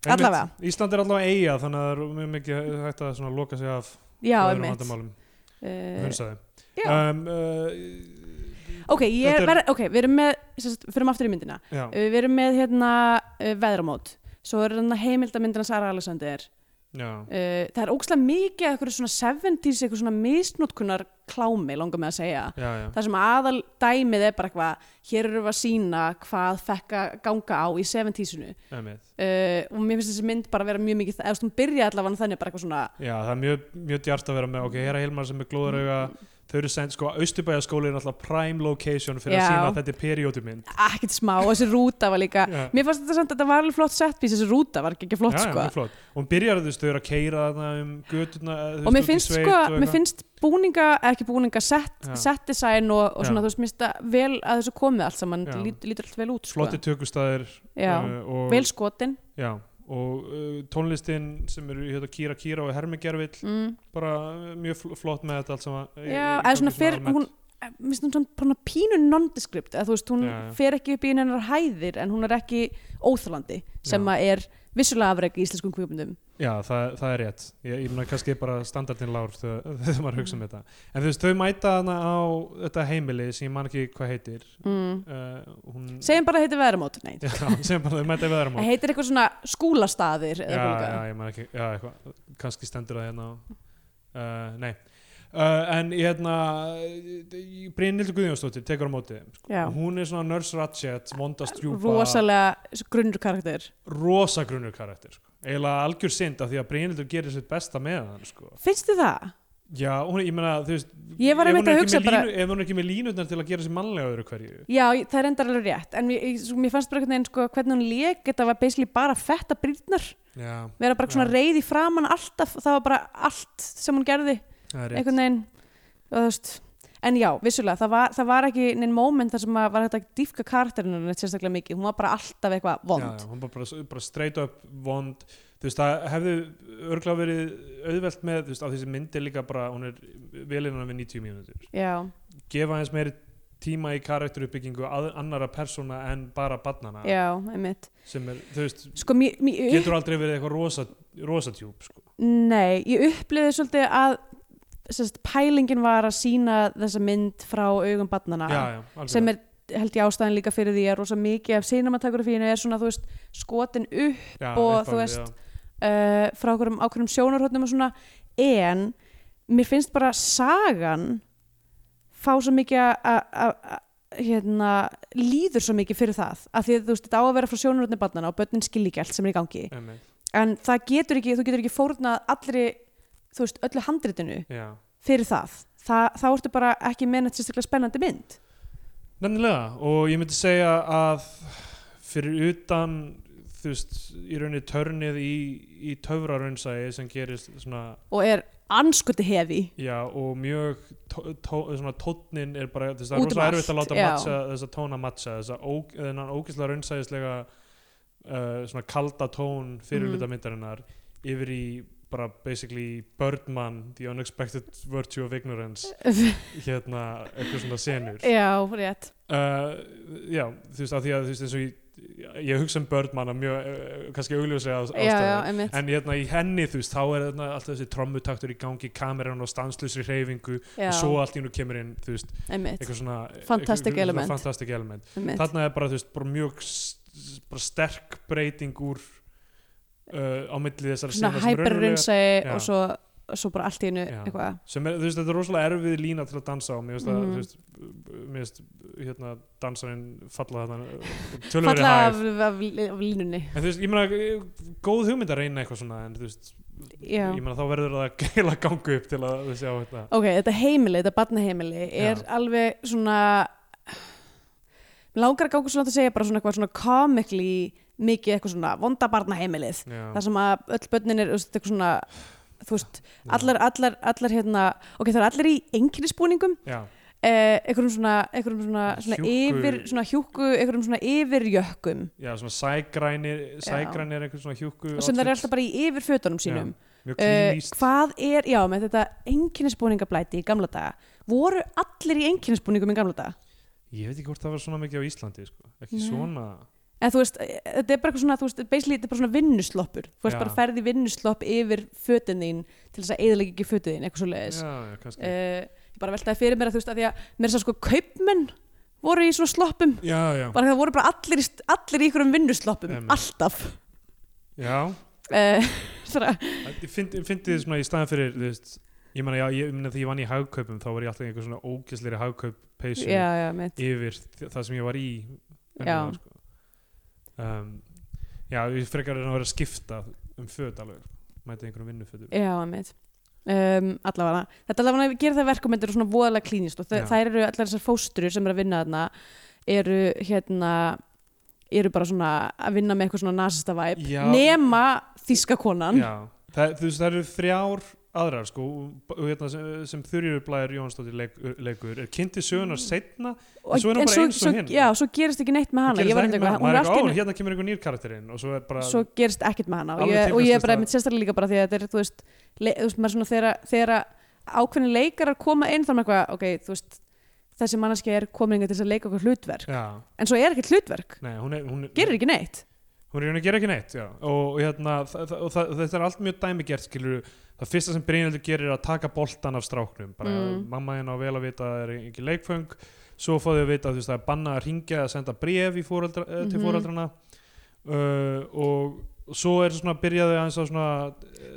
Allavega.
Einmitt, Ísland er allavega eiga þannig að það er mjög mikið hægt að svona loka sig af
já,
öðrum
einmitt
vandamálum
uh,
hunsaði
já.
um, uh,
ok, ég
Þetta er-
verð, ok, við erum með sem sagt, fyrir aftur í myndina
já,
Uh, Við erum með hérna uh, veðramót Svo er hérna heimildamyndina Sara Alexander
já,
uh, Það er ógstlega mikið af einhverju svona 70s, einhverju svona misnótkunar klámi langar með að segja
já, já,
Það sem aðal dæmið er bara eitthvað Hér eru við að sína hvað fekk að ganga á í 70sinu uh,
einmitt.
Og mér finnst þessi mynd bara vera mjög mikið það- Eða þú veist, hún byrja allavega þannig bara eitthvað svona
já, það er mjög, mjög djart að vera með ok, hér er Hilmar sem er glóðarauga þau eru send, sko, Austurbæjaskóli er alltaf prime location fyrir
Já.
að sína að þetta er perióduminn
ekkert smá Og þessi rúta var líka Mér fannst þetta samt að þetta var alveg flott setpís Þessi rúta var ekki flott
já,
sko
mjög flott. og hún byrjar þú veist, þau eru að keira þarna um götuna
og mér finnst sko, mér finnst búninga, eða ekki búninga, set,
Já.
set design og, og svona,
Já.
þú veist, mér finnst það vel að þessu komið allt saman,
Já.
lít, lítur allt vel út sko.
flotti tökustæðir
Já,
og,
vel skotin
já, og uh, tónlistin sem eru hérna Kira Kira og Hermi Gervill
mm.
bara uh, mjög fl- flott með þetta allt saman í- í
Já, eða
gangi
svona fyrr,
almennt.
hún Eh, mér finnst hún svona bara pínu nondescript eða þú veist, hún
Já, já.
fer ekki upp í hennar hæðir en hún er ekki óþalandi sem
Já.
að er vissulega afreg í íslenskum kvíkmyndum
Já, það, það er rétt. Ég, ég meina kannski bara standardin lár þegar þegar maður
Mm.
hugsa um þetta. En þú veist, þau mæta hana á þetta heimili sem ég man ekki hvað heitir.
mm.
Uh, hún...
segjum bara að heitir veðramót nei,
Já, segjum bara, þau mæta í veðramót.
það heitir eitthvað svona skúlastaðir
Já,
eða eitthvað
já, ég man ekki, já, eitthvað, kannski stendur það hérna á, uh, nei. Uh, en ég hérna, Brynhildur Guðjónsdóttir tekur á móti. þeim, sko.
já.
Hún er svona Nurse Ratchet, vondast djúpa,
rosalega grunnur karakter
rosagrunnur karakter, sko. Eila algjör synd af því að Brynhildur gerir sitt besta með hann, sko.
finnst þið það?
já, hún, ég meina, þú veist
Ég var
ef
einmitt
hún er
að
ekki
hugsa
með
bara-
línu, ef hún er ekki með línutnar til að gera sér mannlega öðru hverju
Já, ég- það er endar alveg rétt en mér, ég- svo- mér fannst bara einhvern veginn sko, hvernig hún lék þetta var basically bara fetta brýrnar
já,
vera bara svona
Já.
reið í framan alltaf það var bara allt sem hún gerði
það er rétt
einhvern veginn og þú veist en já, vissulega, það var, það var ekki neinn moment þar sem að var hægt að dýfka karakterinu hennar neitt sérstaklega mikið, hún var bara alltaf eitthvað
já,
vond
já, hún bara, bara, bara straight up vond þú veist, það hefði örgla verið auðvelt með, þú veist, á þessi myndi líka bara, hún er velinna við 90 mínútur
já,
gefa hans meiri tíma í karakteruppbyggingu að, annara persóna en bara barnana
já, einmitt
sem er, þú veist,
sko, mér, mér,
getur aldrei verið eitthvað rosa, rosa tjúb, sko
Nei, ég upplifði svolítið að sérst, pælingin var að sína þessa mynd frá augum barnana
já, já, algjörlega.
sem er held ég ástæðin líka fyrir því að rosa mikið af sinematografíinu er svona, þú veist, skotin upp
já,
og þú
uppalið,
veist, uh, frá okkur ákveðum sjónarhóttnum og svona en mér finnst bara sagan fá svo mikið að- að að- að- hérna, líður svo mikið fyrir það af því að þú veist, þetta á að vera frá sjónarhóttnum barnana og börnin skilji ekki allt sem er í gangi
já, einmitt,
en það getur ekki, þú getur ekki fórnað allri, þú veist, öllu handritinu
já.
fyrir það, Þa, þá ertu bara ekki með neitt sérstaklega spennandi mynd
Nefnilega, og ég myndi segja að fyrir utan þú veist, í rauninni törnið í, í töfraraunsæi sem gerist svona,
og er anskuti hefi
já, og mjög tó, tó, svona tónnin er bara, þú veist, það
Út
er
um
rosa
allt,
erfitt að láta
já.
matcha, þess að tóna matcha, þess að óg, þennan ógislega raunsæðislega uh, svona kalda tón fyrir
Mhm.
hluta myndarinnar yfir í bara basically Birdman, The Unexpected Virtue of Ignorance hérna, eitthvað svona senur
Já, rétt
uh, já, þú veist, af því að þú veist, eins og ég, ég hugsa um Birdman að mjög, uh, kannski augljóslega ástæðu
já, já, einmitt.
en hérna í henni, þú veist, þá er hérna, alltaf þessi trommutaktur í gangi, kameran og stanslösri hreyfingu
já,
og svo allt í nú kemur inn, þú veist,
einmitt,
eitthvað svona eh,
Fantastic
eitthvað svona
element.
fantastic element.
einmitt.
þarna er bara, þú veist, bara mjög s- s- bara sterk breyting úr uh, á milli þessar
svona
sena sem eru raunverulegar-
hæperrunnsæi
Já.
og svo, svo bara allt í einu
Já.
eitthvað
sem er, þú veist, þetta er rosalega erfið lína til að dansa á, mér finnst það,
Mhm.
þú veist mér finnst, hérna, dansarinn falla þarna, tölveri
falla af,
hæg
af, af línunni
en þú veist, ég meina, góð hugmynd að reyna eitthvað svona, en þú veist,
Já.
ég meina þá verður það að geila gangu upp til að sjá þetta
Ok, þetta heimili, þetta barnaheimili er
Já.
alveg svona Mig langar að ganga svona að segja bara svona eitthvað svona comically mikið eitthvað svona vonda barnaheimilið
já,
það sem að öll börnin er þú veist, eitthvað svona þú veist, allar, allar, allar hérna ok, það er allir í einkennisbúningum
já,
eh, einhverjum svona, einhverjum svona, svona
Hjúkku.
yfir, svona hjúku, einhverjum svona yfirjökkum
já, svona sægrænir sægrænir einhver svona hjúku
sem það er
outfit.
alltaf bara í yfirfötunum sínum
já, mjög
Eh,
klínist
hvað er, já, með þetta einkennisbúningablæti í gamla daga voru allir í einkennisbúningum í gamla daga
ég veit ekki hvort það var svona mikið á Íslandi sko. ekki
Nei.
svona
En þú veist, eh, þetta er bara eitthvað svona, þú veist, basically þetta er bara svona vinnusloppur. Þú veist
Já.
bara ferði vinnuslopp yfir fötin þín til þess að eðalega ekki fötin þín, eitthvað svo leiðis.
já, já, kannski
Eh, ég bara veltaði fyrir mér að þú veist, að því að mér er svo sko kaupmenn voru í svona sloppum.
já, já,
Bara það voru bara allir, í st- allir í einhverjum vinnusloppum,
Einmitt.
alltaf.
já
Uh, svona,
Ég fyndi fyndi þið svona í staðan fyrir þú veist, ég meina, já, ég meina þegar ég vann í hagkaupum þá var ég alltaf í einhver svona ógæsleiri hagkaup peysu
já, já, mitt.
yfir þ- það sem ég var í venjulega, sko. um, já, ég frekar en að vera að skipta um föt alveg mæta einhverjum vinnufötum
Já, mitt. Um, allavega, þetta allavega gerir það verkum þetta eru svona voðalega klínist og þa-
Já.
þær eru allar þessar fóstrur sem eru að vinna þarna eru hérna eru bara svona að vinna með eitthvað svona nasista væp
Já.
nema þíska konan
já, það, þú veist það eru þrjár aðrar sko og og hérna sem, sem Þurjur Blæður Jónsdóttir leik, leikur er kynnti sögunar
Mm.
setna
og,
en svo er hún bara eins og hin.
já, svo gerist ekki neitt með hana ég var
ekki
einhver,
með,
hún
maður
er
er
allt í
ekki, ó,
einu-
hérna kemur einhver nýr karakterinn og svo er bara
svo gerist ekkert með hana og
Alveg
ég, og ég er bara
tilgangslaust
einmitt sérstaklega líka bara því að þetta er þú veist, le, þú veist maður svona þegar, þegar ákveðin leikarar koma inn þá er maður eitthvað, ok, þú veist þessi manneskja er komin hingað til þess að leika okkur hlutverk
já,
en svo er ekkert hlutverk,
nei, hún er, hún,
gerir ekki neitt
hún er í raun að gera ekki neitt já. og, hérna, þa- þa- og þa- þetta er allt mjög dæmigert skilur það fyrsta sem Brynjaldur gerir er að taka boltan af stráknum bara
Mm.
mamma hérna á vel að vita að það er ekki leikföng svo fá þau að vita að þú veist, það er banna að ringja að senda bref í fóreldra, mm til
Mhm.
fóreldrana uh, og, og svo er svona byrjaði aðeins á svona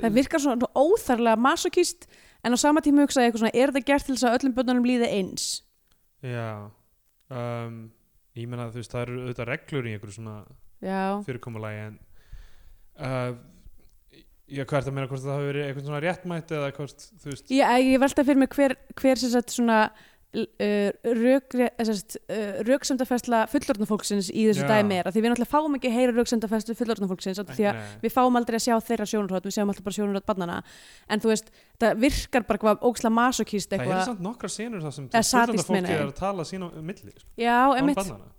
það virkar svona óþarlega masokist en á sama tíma hugsaði ég eitthvað svona er það gert til þess að öllum börnunum líði eins
já um, ég meina þú veist það eru auðvitað reglur í einhverju svona
já,
fyrirkomulagi en uh, Já, hvað er það að meina hvort það hafi verið eitthvað svona réttmætt eða hvort, þú veist,
Ég, ég velta fyrir mig hver, hver sem sagt svona uh, rök, uh, röksemdafærsla fullorðna fólksins í þessu
Já.
dæmi er að því við náttúrulega fáum ekki að heyra röksemdafærslu fullorðna fólksins af því að
nei.
við fáum aldrei að sjá þeirra sjónurhótt við sjáum alltaf bara sjónurhótt barnana en þú veist, það virkar bara hvað óksla masokist
það eru
eitthvað
samt nokkra senur það sem
Eða
fullorðna
sadist, meina
fólki
ég.
er að tala sín á milli, sko,
Já,
án
emitt,
bannana.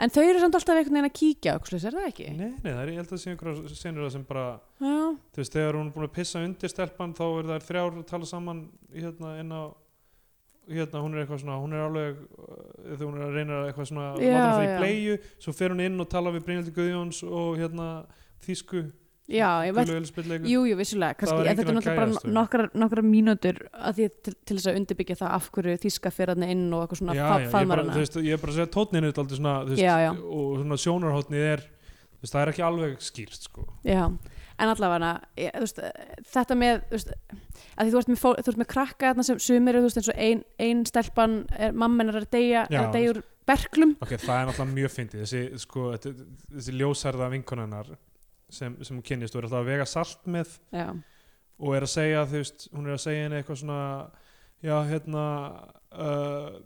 en þau eru samt alltaf einhvern veginn að kíkja aukslis, er það ekki?
Nei, nei, það er, ég held að sé einhverja senur það sem bara,
Já,
þú veist, þegar hún er búin að pissa undir stelpan þá er það þrjár að tala saman hérna inn á hérna, hún er eitthvað svona, hún er alveg uh, þegar hún er að reyna eitthvað svona
Já,
láta hún fara í
já.
bleiu, svo fer hún inn og tala við Brynhildi Guðjóns og hérna Þísku,
já, ég veit
Gulu Elspilleikur
Jú, jú, vissulega,
var
kannski, en
enginn
þetta er
að
náttúrulega
gægjast
bara
þau.
nokkrar, nokkrar mínútur að því til, til þess að undirbyggja það af hverju þýska fyrir hann inn og eitthvað svona
já,
fa-
já, ég, bara,
faðmar
þú
hana
veist, ég er bara að segja tónninu er aldrei svona, þú veist,
Já, já.
og svona sjónarhóttnið er þú veist, það er ekki alveg skýrt sko.
Já, en allavega ég, þú veist, þetta með þú veist, að því þú ert með, fó, þú ert með krakka þarna sem sumir eru, þú veist, eins og ein, ein stelpan er, mammen er að deyja, er
Já,
að deyja úr berklum
ok, það er náttúrulega mjög fyndið þessi, sko, þetta- þessi ljósærða vinkonennar sem, sem hún kynnist og er alltaf að vega salt með
Já,
og er að segja, þú veist, hún er að segja henni eitthvað svona já, hérna uh,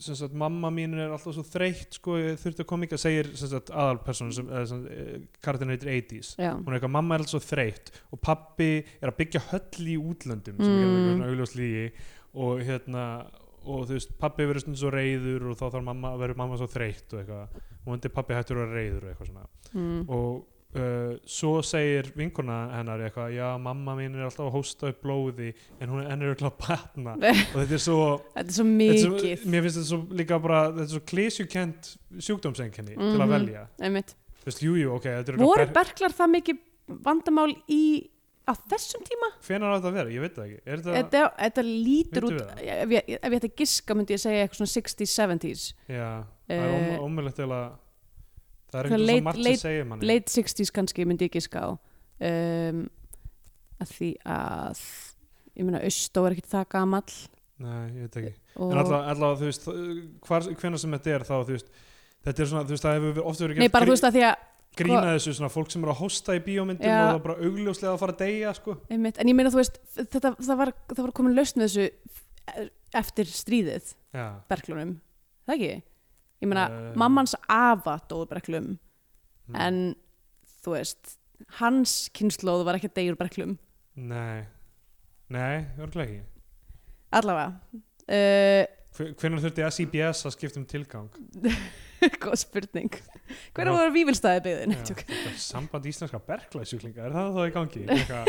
sem sagt, mamma mín er alltaf svo þreytt sko, ég þurfti að koma ekki að segja sem sagt, aðalpersonu sem, eða, sem eh, karakterinn heitir 80s
já,
hún er eitthvað, mamma er alltaf svo þreytt og pappi er að byggja höll í útlöndum
Mm.
sem er hérna eitthvað svona augljós lígi og hérna, og þú veist, pappi verður stundum svo reyður og þá þarf mamma, verður mamma svo þreytt og eitthvað, og undir pappi hættur að vera reyður og eitthvað svona
mm,
og uh, svo segir vinkona hennar eitthvað, já mamma mín er alltaf að hósta upp blóði en hún henn er öll að batna og þetta er svo,
þetta er svo
þetta er
mikið
svo mér finnst þetta svo líka bara, þetta er svo klísjukent sjúkdómsenginni til
Mhm.
að velja
einmitt.
þú veist, jújú, jú, ok, þetta er
Voru
örugglega
berklar það mikið vandamál í á þessum tíma?
ber- hvenær á þetta að vera, ég veit það ekki er þetta,
Þetta, þetta lítur
Vitum
út,
við það?
ef ég, ef ég ætti að giska myndi ég segja eitthvað svona 60s, 70s,
já, það er
Eh,
ómö- ómögulegt til að það er
það
ekki
leit-
svo margt
leit-
sem segir manni
late 60s kannski myndi ég giska á. Um, að því að, ég meina, Austó er ekkit það gamall.
nei, ég veit ekki
Og,
en allavega, allavega, þú veist, hvar, hvenær sem þetta er þá, þú veist, þetta er svona, þú veist, það hefur oft verið
nei,
gert
bara
grí-
þú veist að því að,
grína þessu svona fólk sem eru að hosta í bíómyndum
Já.
og það er bara augljóslega að fara að deyja sko.
einmitt, en ég meina þú veist, þetta, það, var, það var komin lausn við þessu e, eftir stríðið,
já.
berklunum, það ekki? Ég meina,
Eh.
mammans afa dói berklum,
Mm.
en þú veist, hans kynnslóð var ekki að deyja úr berklum.
nei, nei, örglega ekki
allavega uh,
Hve- hvenær þurfti SIBS að skipta um tilgang
góð spurning
Já.
hvernig voru vífilstaði byggðin
Já, þetta er samband íslenska berglaðsjúklinga er það þá í gangi Eitthvað.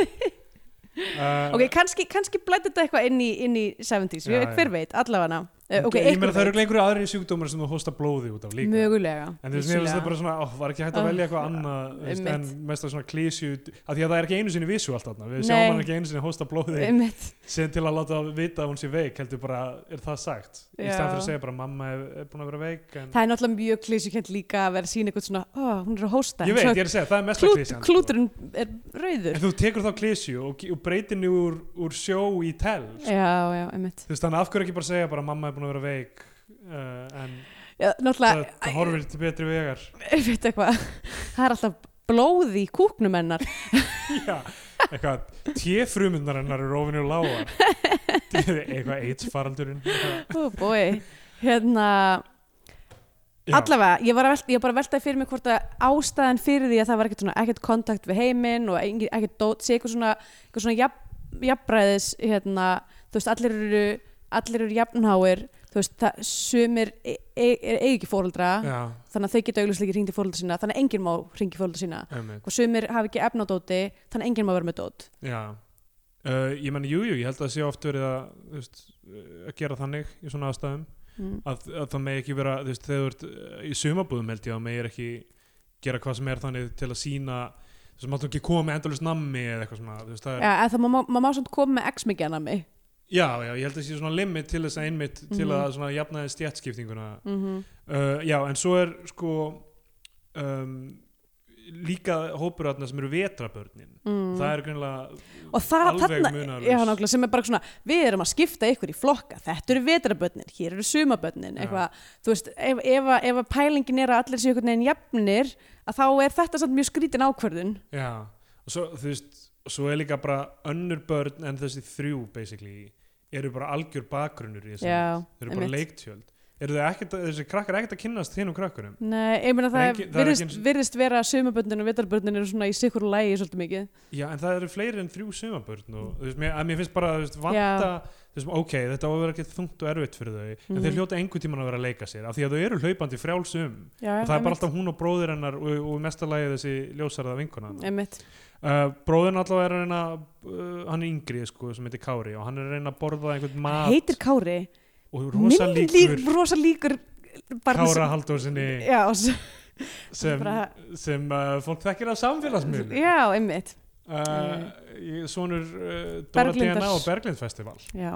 uh,
ok, kannski, kannski blætti þetta eitthvað inn í, inn í 70s,
Já,
ég veit,
já.
hver veit allavega, uh, ok,
ég meina það
einhver
eru einhverju aðri sjúkdómar sem þú hosta blóði út af líka
mögulega
En þú veist, mér finnst það
vissulega.
bara svona, ó, var ekki hægt að
Ah,
velja eitthvað annað þú veist, en
einmitt.
mest að svona klísju, af því að það er ekki einu sinni vissu allt þarna,
Nei.
við
Um,
sjáum hann ekki einu sinni hosta blóði
Einmitt.
sem til að láta vita að hún sé veik heldur bara, er það sagt í
Já.
stæðan fyrir að segja bara mamma er, er búin að vera veik en...
það er náttúrulega mjög klísukent líka að vera að sína eitthvað svona, ó, hún er að hósta
ég
en
veit,
svo
ég er að segja, það er mest að sko.
klút,
klísjan
klúturinn er rauður
en þú tekur þá klísju og, og breytir henni úr, úr sjó í tel sko.
já, já, einmitt
þú veist, þannig af hverju ekki bara segja bara mamma er búin að vera veik uh, en
já,
það,
náttúrulega,
það horfir til betri vegar
ég veit eitthvað það er alltaf blóð í kúknum hennar
já, eitthvað, téfrumundar hennar eru ofinu lágar eitthvað AIDS faraldurinn eitthvað.
oh boy, hérna
Já.
Allavega, ég var, að velta, ég var bara að veltaði fyrir mig hvort að ástæðan fyrir því að það var ekkert, svona, ekkert kontakt við heiminn og engin- ekkert dót, sé eitthvað svona, eitthvað svona jafn, jafnræðis, hérna, þú veist, allir eru, allir eru jafnháir, þú veist, það sumir e e er eigi ekki fóreldra,
já,
þannig að þau geta auglustlega ekki hringt í fóreldra sína, þannig að enginn má hringi fóreldra sína.
einmitt.
Og sumir hafa ekki efna á dóti, þannig að enginn má vera með dót.
Já, uh, ég menn, jú, jú, ég held að það sé oft verið að, þú veist, uh, að gera þannig í svona aðstæðum
Mm.
að, að það megi ekki vera, þú veist, þegar þú ert uh, í sumabúðum held ég að megir ekki gera hvað sem er þannig til að sína þú veist, máttu ekki koma með endalust nammi eða eitthvað svona, þú veist, það er,
Ja, en það má, má, má, má svona koma með x mikið að nami.
já, já, ég held að sé svona limit til þess að einmitt til
Mhm.
að svona jafnaði stjætskiptinguna
Mm
uh, já, en svo er sko um, líka hópur þarna sem eru vetrabörnin
mm.
það er greinlega
og það,
Alveg
þarna,
munaðarlaus.
já, nákvæmlega, sem er bara svona við erum að skipta ykkur í flokka, þetta eru vetrabötnin hér eru sumabötnin,
Já.
eitthvað þú veist, ef, ef, að- ef að pælingin er að allir séu einhvern veginn jafnir, að þá er þetta samt mjög skrítin ákvörðun
Já, og svo þú veist svo er líka bara önnur börn en þessi þrjú basically eru bara algjör bakgrunnur í þessu
Já,
þeir eru bara
einmitt.
leiktjöld eru þau ekkert, að- þessi krakkar ekkert að kynnast þínum krakkurum
Nei, ég meina
Það
það, það
er ekki- það er
virðist,
ekki-
virðist vera að sumaböndin og vitarböndin eru svona í sikkur lægi svolítið mikið
já en það eru fleiri en þrjú sumabörn og þú veist, mér, að mér finnst bara þú veist, vanta, þú veist, ok, þetta á að vera ekki þungt og erfitt fyrir þau, en
Mhm.
þeir hljóta einhvern tíman að vera að leika sér, af því að þau eru hlaupandi um. frjálsum
Já,
og það er bara alltaf hún og bróðir hennar og, og í mesta lagi þessi ljósarða vinkona hennar.
Einmitt,
uh, bróðin allavega er að reyna uh, hann er yngri sko sem heitir Kári og hann er að reyna að borða einhvern mat
heitir Kári
og rosa
Minn lík,
líkur
rosa líkur barni sem-
Kára Halldórsinni
Já, og svo-
sem,
bara-
sem uh, fólk þekkir á samfélagsmiðlum
já, einmitt
uh, í- sonur uh, Dóra
Berglindar.
DNA og Berglind Festival uh,
já.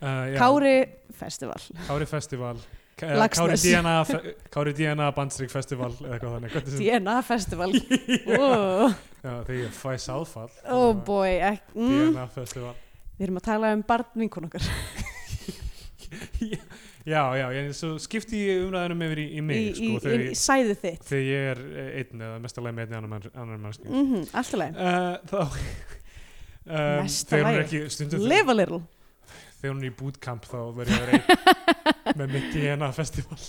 já,
Kári Festival
Kári Festival K- eh, Kári
Laxness.
DNA, fe- Kári DNA Bandstrik Festival eða eitthvað þannig hvernig sem-
DNA Festival Ó,
já, þegar ég fæ sáðfall
oh boy ek, mm,
DNA Festival
Við erum að tala um barn vinkun okkar
já, já, ég, svo skipti ég umræðanum yfir í, í mig
í,
sko,
í,
þegar,
í, í
ég,
sæðu þitt
þegar ég er eh, einn eða mestalega með einn annar, annar mannski
mm -hmm, Alltaf leið,
uh, sko. þá um,
Mesta
þegar hún er
lagi.
ekki stundum
live a little
þegar hún er í bootcamp þá verður ég að reyna með mitt DNA festival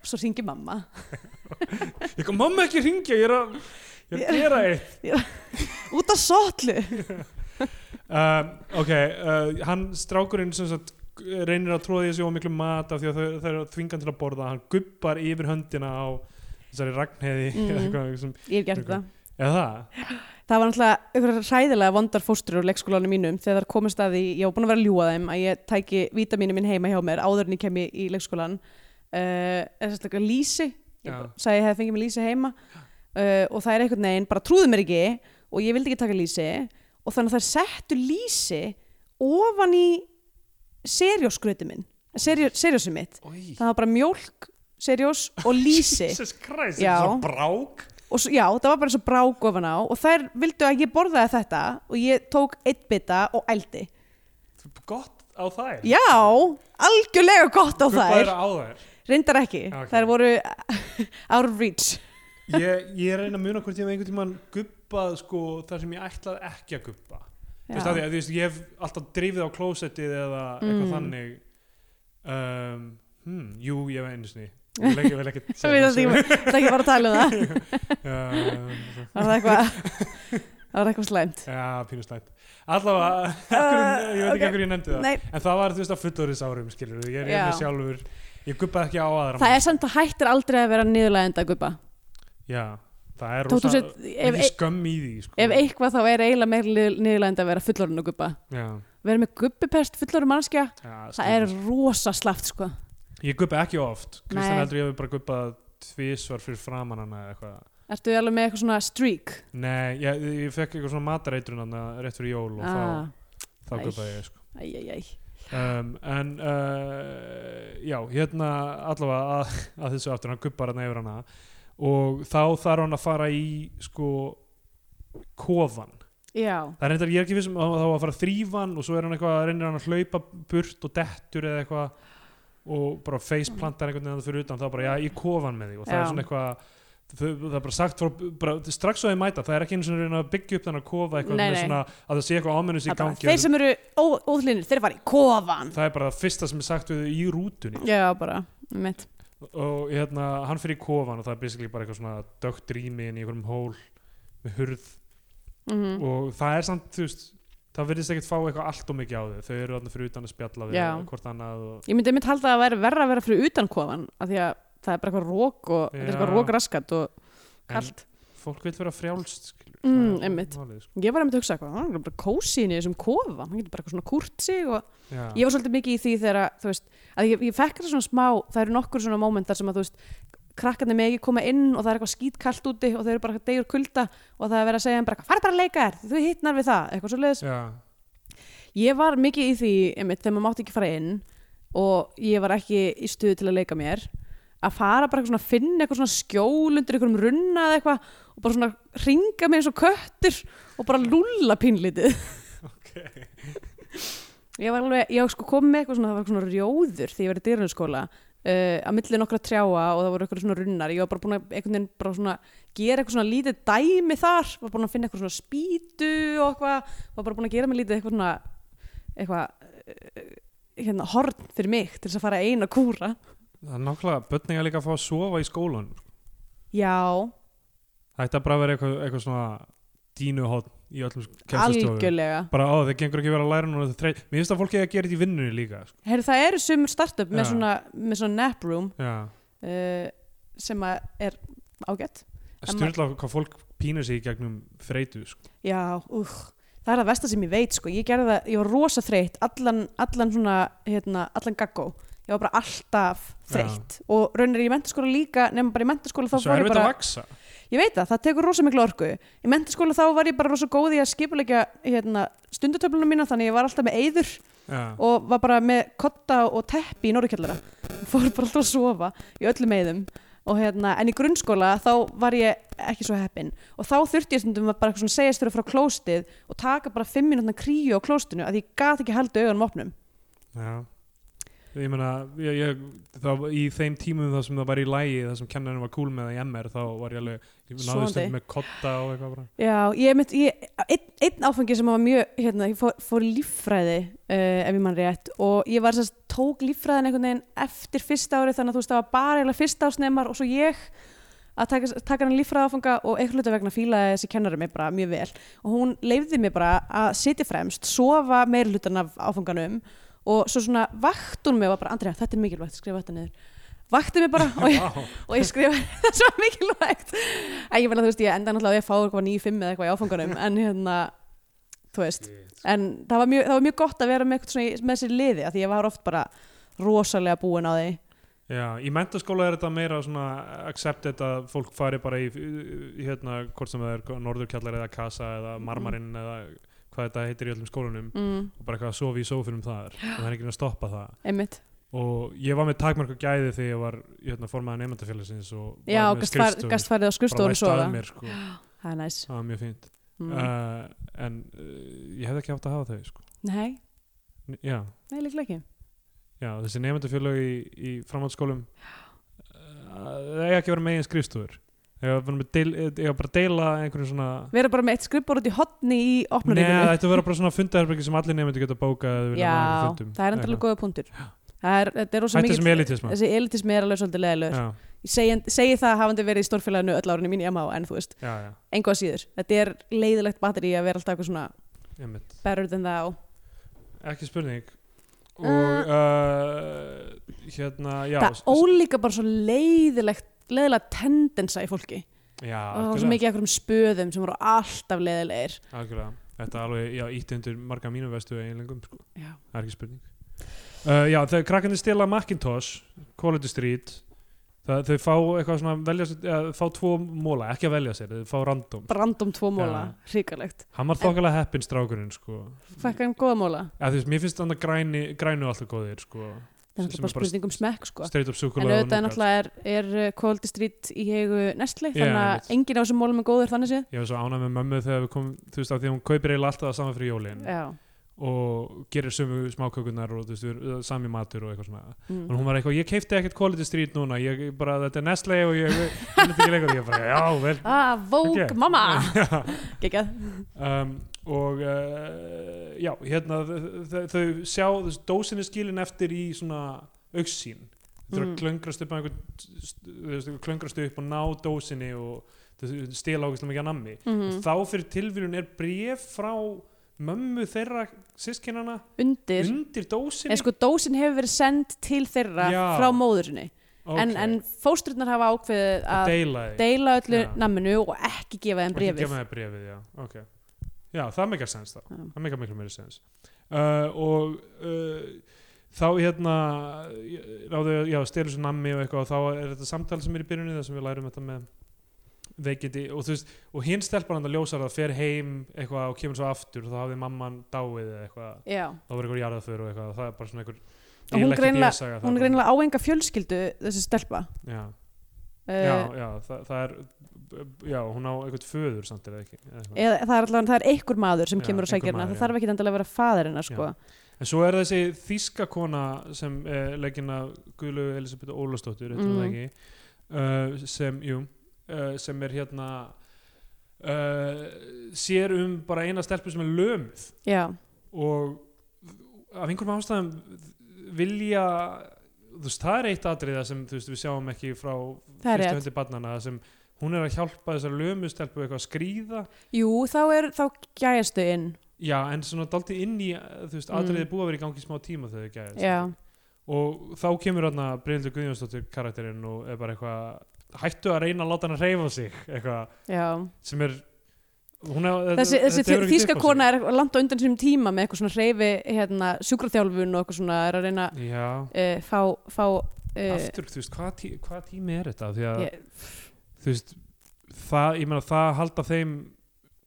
og svo ringi mamma
ég kom, mamma ekki ringja, ég er að ég er að gera eitt
út af sotlu
um, ok, uh, hann strákurinn sem sagt eh, reynir að tróða í þessu ómiklu mat af því að þau, þau eru þvingan til að borða hann gubbar yfir höndina á þessari ragnheði
Mm.
eða eitthvað sem,
Ég hef gert
Ok.
það
eða það,
Það var náttúrulega einhverjar ræðilega vondar fóstur úr leikskólanum mínum þegar það komist að því, ég var búin að vera að ljúa þeim að ég tæki vítaminu mín heima hjá mér áður en ég kemi í leikskólan uh, er sérstaklega lísi ég
Já.
bara sagði að ég hefði fengið mér lísi heima uh, og það er einhvern veginn, bara trúðu mér ekki og ég vildi ekki taka lísi og þannig að það settu lísi ofan í serjósgröti minn, serjó, serjósi mitt
oi
það var bara mjólk, serjós og lísi
Jesus Christ,
Já.
þetta er svo brák
og svo, já, það var bara svo brák ofan á og þær vildu að ég borðaði þetta og ég tók eitt bita og ældi
gott á þær
já, algjörlega gott á
Gubbaðir
þær
á þær
reyndar ekki,
Já, ok.
þær voru out of reach
ég, ég reyna að muna hvort ég hef einhvern tímann gubbað sko, þar sem ég ætlaði ekki að gubba þú veist, af því,
já,
að, þú veist, ég hef alltaf drifið á klósettið eða eitthvað
Mm.
þannig um, hmm, jú, ég hef einu sinni ég vil ekki, ég vil ekki
það veit
segja
að því það ekki var að tala um það
um,
var það eitthvað það var eitthvað slæmt
já, pínu slæmt allavega, uh, ég veit ekki
ok.
okay. hverju ég nefndi það
Nei,
en það var þú veist að fullorðis árum skilur ég er
Já.
með sjálfur, ég gubbaði ekki á aðra
það
mann.
er samt að hættir aldrei að vera niðurlægenda guppa
já, það er
Þótt þú
rosa,
sért- ef- e-
ekki skömm í því sko.
ef eitthvað þá er eiginlega meira niðurlægenda að vera fullorinn og guppa
já,
vera með guppipest fullorinn mannskja
já,
það er
skilur.
rosa slaft sko
ég gubbaði ekki oft, Kristján
Nei.
heldur ég hefur bara gubbað tvísvar fyrir framan hana eða eitthvað
Ertu alveg með eitthvað svona streak?
Nei, ég, ég fekk eitthvað svona matareitrun þarna rétt fyrir jól og
Ah,
þá, þá
æ.
köpaði ég sko.
æj, æj, æj.
um, En uh, já, hérna allavega að, að þessu aftur hann kuppar hann yfir hana og þá þarf hann að fara í sko kofan.
Já,
Það er reyndar, ég er ekki vissum að þá að fara að þrýfa hann og svo er hann eitthvað, reynir hann að hlaupa burt og dettur eða eitthvað og bara faceplantar einhvern veginn að fyrir utan þá bara, já, ég kofan með því og það er
Já.
svona eitthvað þau, það er bara sagt frá, bara, strax og þeir mæta það er ekki einu svona reyna að byggja upp þannig að kofa eitthvað
Nei,
með
nei.
svona, að það sé eitthvað ámennus í
það er bara,
gangi
þeir sem eru óðlinir, þeir fara í kofan.
það er bara það fyrsta sem er sagt við þau í rútunni
Já, bara, mitt.
og hérna, hann fyrir í kofan og það er basically bara eitthvað svona dögt rými inn í einhverjum hól með hurð
Mm
og það er samt, þú veist það verðist ekkert fá eitthvað allt og mikið á þau þau eru þarna fyrir utan að spjalla við
Já.
hvort annað og
Ég myndi mitt halda að það væri verra að vera fyrir utan kofan, af því að það er bara eitthvað rók og þetta er
Já.
eitthvað rókraskat og kallt.
fólk vil vera frjálst skilur,
Mm,
það er
einmitt.
málið, sko.
Ég var einmitt að hugsa eitthvað, hann er bara kósi inn í þessum kofa, hann getur bara eitthvað svona kúrt sig og
Já.
ég var svolítið mikið í því þegar að, þú veist, að ég, ég fekk þetta svona smá, það eru nokkur svona mómentar sem að þú veist, krakkarnir með ekki koma inn og það er eitthvað skítkallt úti og þau eru bara degur kulda og það er verið að segja þeim bara, fara bara að leika þér, þú hittnar við það, eitthvað svo leiðis.
Já.
Ég var mikið í því, einmitt, þegar maður mátti ekki fara inn og ég var ekki í stuði til að leika mér, að fara bara eitthvað svona að finna eitthvað svona skjól undir einhverjum runna eða eitthvað og bara svona ringa mig eins og köttur og bara lúlla pínlítið.
Okay.
Ég var alveg, ég sko kom með eitthvað svona, það var eitthvað svona rjóður þegar ég var í dyrunarskóla uh, á milli nokkra trjáa og það voru eitthvað svona runnar ég var bara búin að einhvern veginn bara svona gera eitthvað svona lítið dæmi þar var búin að finna eitthvað svona spýtu og eitthvað var bara búin að gera mig lítið eitthvað svona eitthvað uh, hérna horn fyrir mig til þess að fara eina kúra
það er nákvæmlega, börn eiga líka að fá að sofa í skólan
já,
það ætti að bara vera eitthvað, eitthvað svona dínuhótt í öllum kennslustofum
algjörlega
bara á það gengur ekki að vera að læra núna þetta þreytt. mér finnst að fólk eiga að gera þetta í vinnunni líka sko.
Heru, það eru sumur startup með
Já.
svona, með svona nap room
já,
uh, sem að er ágætt En maður-
styrla hvað fólk pínur sig í gegnum þreytu sko.
já, úh, það er að versta sem ég veit sko. ég gerði það, ég var rosa þreytt allan, allan svona, hérna, allan gaggó ég var bara alltaf þreytt og raunar ég í mentaskóla líka nema bara í mentaskóla þá
svo
var
er
ég
þetta
bara
að vaksa
ég veit það, það tekur rosa miklu orku í mentaskóla þá var ég bara rosa góð í að skipulegja hérna, stundutöflunum mína þannig ég var alltaf með eyður
já,
og var bara með kotta og teppi í norðkjallara fór bara alltaf að sofa í öllum meðum og hérna, en í grunnskóla þá var ég ekki svo heppin og þá þurfti ég stundum að bara eitthvað svona segjast þurfa frá klóstið og taka bara fimm minútna kríu á klóstinu að ég gat ekki haldið augunum opnum
já. ég meina ég, ég, það, í þeim tímum það sem það var í lægi það sem kennarinn var cool með það í MR þá var ég alveg, ég náði
Sofandi.
stundum með kotta og eitthvað bara
Já, ég mitt, ég, einn, einn áfangi sem var mjög, hérna, ég fór, fór í líffræði uh, ef ég mann rétt og ég var sérst, tók líffræðin einhvern veginn eftir fyrsta árið þannig að þú veist það var bara eiginlega fyrsta ásnemar og svo ég að taka, taka hann líffræði áfanga og einhvern veginn vegna fílaði þessi kennari mig bara mjög vel og hún leifði mig bara að sitja fremst, sofa meir hlutan af áfanganum og svo svona vakt hún mig og var bara, Andrea, þetta er mikilvægt, skrifa þetta niður vakti mig bara og ég,
Vá.
og ég skrifa það sem var mikilvægt en ég meina þú veist ég enda náttúrulega á því að fá eitthvað 9-5 eða eitthvað í áfangunum en hérna þú veist en það var mjög, það var mjög gott að vera með, eitthvað svona, í- með sér liði af því ég var oft bara rosalega búin á því
Já, í mentaskóla er þetta meira svona accepted að fólk fari bara í, í hérna, hvort sem það er norðurkjallar eða kasa eða
Mm-hmm.
marmarinn eða hvað þetta heitir í öllum skólanum
mm,
og bara eitthvað að sofa í sófinum þar og það er ekki að stoppa það
einmitt
og ég var með takmörk og gæði þegar ég var hérna, formaði nefndafélagsins og var
já,
með
gast far-
skrifstofu,
gast farið á
bara
skurstofun
væsti
svo
að
það
mér, sko.
er næs
það var mjög fínt
mm.
uh, en uh, ég hefði ekki átt að hafa þau sko.
nei,
N- já,
nei líklega ekki
já, þessi nefndafélag í, í framhaldsskólum uh, það eiga ekki að vera megin skrifstofur ég var bara, deil, ég var bara að deila einhverjum svona
vera bara með eitt skrifborð út í hotni í
Nei,
opnuríkinu
þetta vera bara svona fundaherbergi sem allir nefndu geta bókað
já, það er endalega góða punktur það er, þetta er rosa
Hættu
mikill-
sem elitisma
þessi elitismi er alveg svolítið leðilegur
Já,
Ég segi, segi það hafandi verið í stórfélaginu öll árinu mín í MH en þú veist,
já, já,
engu að síður þetta er leiðilegt batteri að vera alltaf eitthvað svona
einmitt
better than thou
ekki spurning og
Uh.
uh, hérna já,
það
s- s-
ólíka bara svo leiðilegt leiðilega tendensa í fólki
já,
og það var
algjörlega,
svo mikið af einhverjum spöðum sem voru alltaf leiðilegir
algjörlega. þetta er alveg, já, ítti undir marga mínu vestu einlengum, sko,
já,
það er ekki spurning uh, já, þegar krakkandi stela Macintosh Quality Street það, þau fá eitthvað svona velja, sér- eða, fá tvo móla, ekki að velja sér þau fá random,
brandom tvo móla, hrikalegt
hann var þokkalega heppin strákurinn, sko,
fækka um góða móla
eða, þú veist, mér finnst þannig græni, grænu alltaf góðir, sko
það er
Sem
náttúrulega bara
er bara
spurning um smekk sko
straight up
en
súkulega
auðvitað er náttúrulega er, er uh, Cold Street í hegu Nestle
Já,
þannig
einmitt.
að enginn af þessum mólum er góður þannig séð
sko. ég var svo ánægð með mömmu þegar við komum þú veist, af því að hún kaupir eiginlega alltaf það saman fyrir jólin
já,
og gerir sömu smákökunar og þú veist, við erum- sami matur og eitthvað svona
mm.
og hún var eitthvað, ég keipti ekkert quality street núna ég bara, þetta er Nestle og ég ég veit ekki leikur, ég bara, já, vel
ah, Vogue
ok."
mamma
Já.
geggjað
um, og uh, já, hérna þ- þ- þau sjá, þessi dósin er skilin eftir í svona auksín þau
Mm.
eru að klöngrast upp á einhvern þú veist, þau klöngrast upp og ná dósinni og þau stila ákveðslega mikið að nammi
Mhm.
þá fyrir tilvílun er bref frá mömmu þeirra sískinana
undir,
undir dósinni
en sko dósin hefur verið send til þeirra
Já.
frá móðurinni en,
Ok.
en fóstrurnar hafa ákveðið
að
að
deila því
deila öllu
Já.
namminu og ekki gefa þeim
Og ekki
brefið
gefa þeim bréfið já. Okay. já, það meikar sens þá
Já.
það meikar miklu meiri sens uh, og uh, þá hérna ráðu, já, stelur svo nammi og eitthvað og þá er þetta samtal sem er í byrjunni þar sem við lærum þetta með veikindi og þú veist, og hinn stelpar hann að ljósa það fer heim eitthvað og kemur svo aftur og þá hafði mamman dáið eða eitthvað
Já,
þá var eitthvað jarðaför og eitthvað það er bara svona einhver
Og hún
eiginlega ekki
greinilega-
DS-saga
hún er
þarna.
greinilega áenga fjölskyldu þessi stelpa
já, já,
uh,
já, það, það er já, hún á eitthvað föður samt er það ekki eða eitthvað.
Eh, eða það er allavega það er einhver maður sem
Já,
kemur og
einhver
sækir hana
maður,
það
já.
þarf ekki endilega að vera faðir hennar sko.
en svo er þessi þíska kona sem er leggin af Guðlu Elisabeth Ólafsdóttur mm.
Mm.
ekki, uh, sem, jú, uh, sem er hérna uh, sér um bara eina stelpu sem er lömuð
já,
og af einhverjum ástæðum vilja þú veist, það er eitt atriða sem þú veist, við sjáum ekki frá
Það er
fyrstu
rétt.
höndi barnana sem hún er að hjálpa þessar lömustelpu eitthvað að skrýða
jú, þá er þá gæjastu inn,
já, en svona dalti inn í eh, þú veist,
Mm.
atriði búið að vera í gangi í smá tíma þegar þau gæðist
já
og þá kemur hérna Bryndur Guðjónsdóttir karakterinn og er bara eitthvað hættu að reyna að láta hann að reyfa sig eitthvað
Já.
sem er hún er,
Þessi,
þetta-
þessi
þetta hefur ekki
þýska
upp á sig.
kona er langt á undan sínum tíma með eitthvað svona reyfi hérna, sjúkraþjálfun og eitthvað svona er að reyna að
já,
uh, fá, fá uh,
aftur, þú veist, hvað, tí, hvað tími er þetta því að,
ég,
þú veist það, ég meina, það halda þeim eh,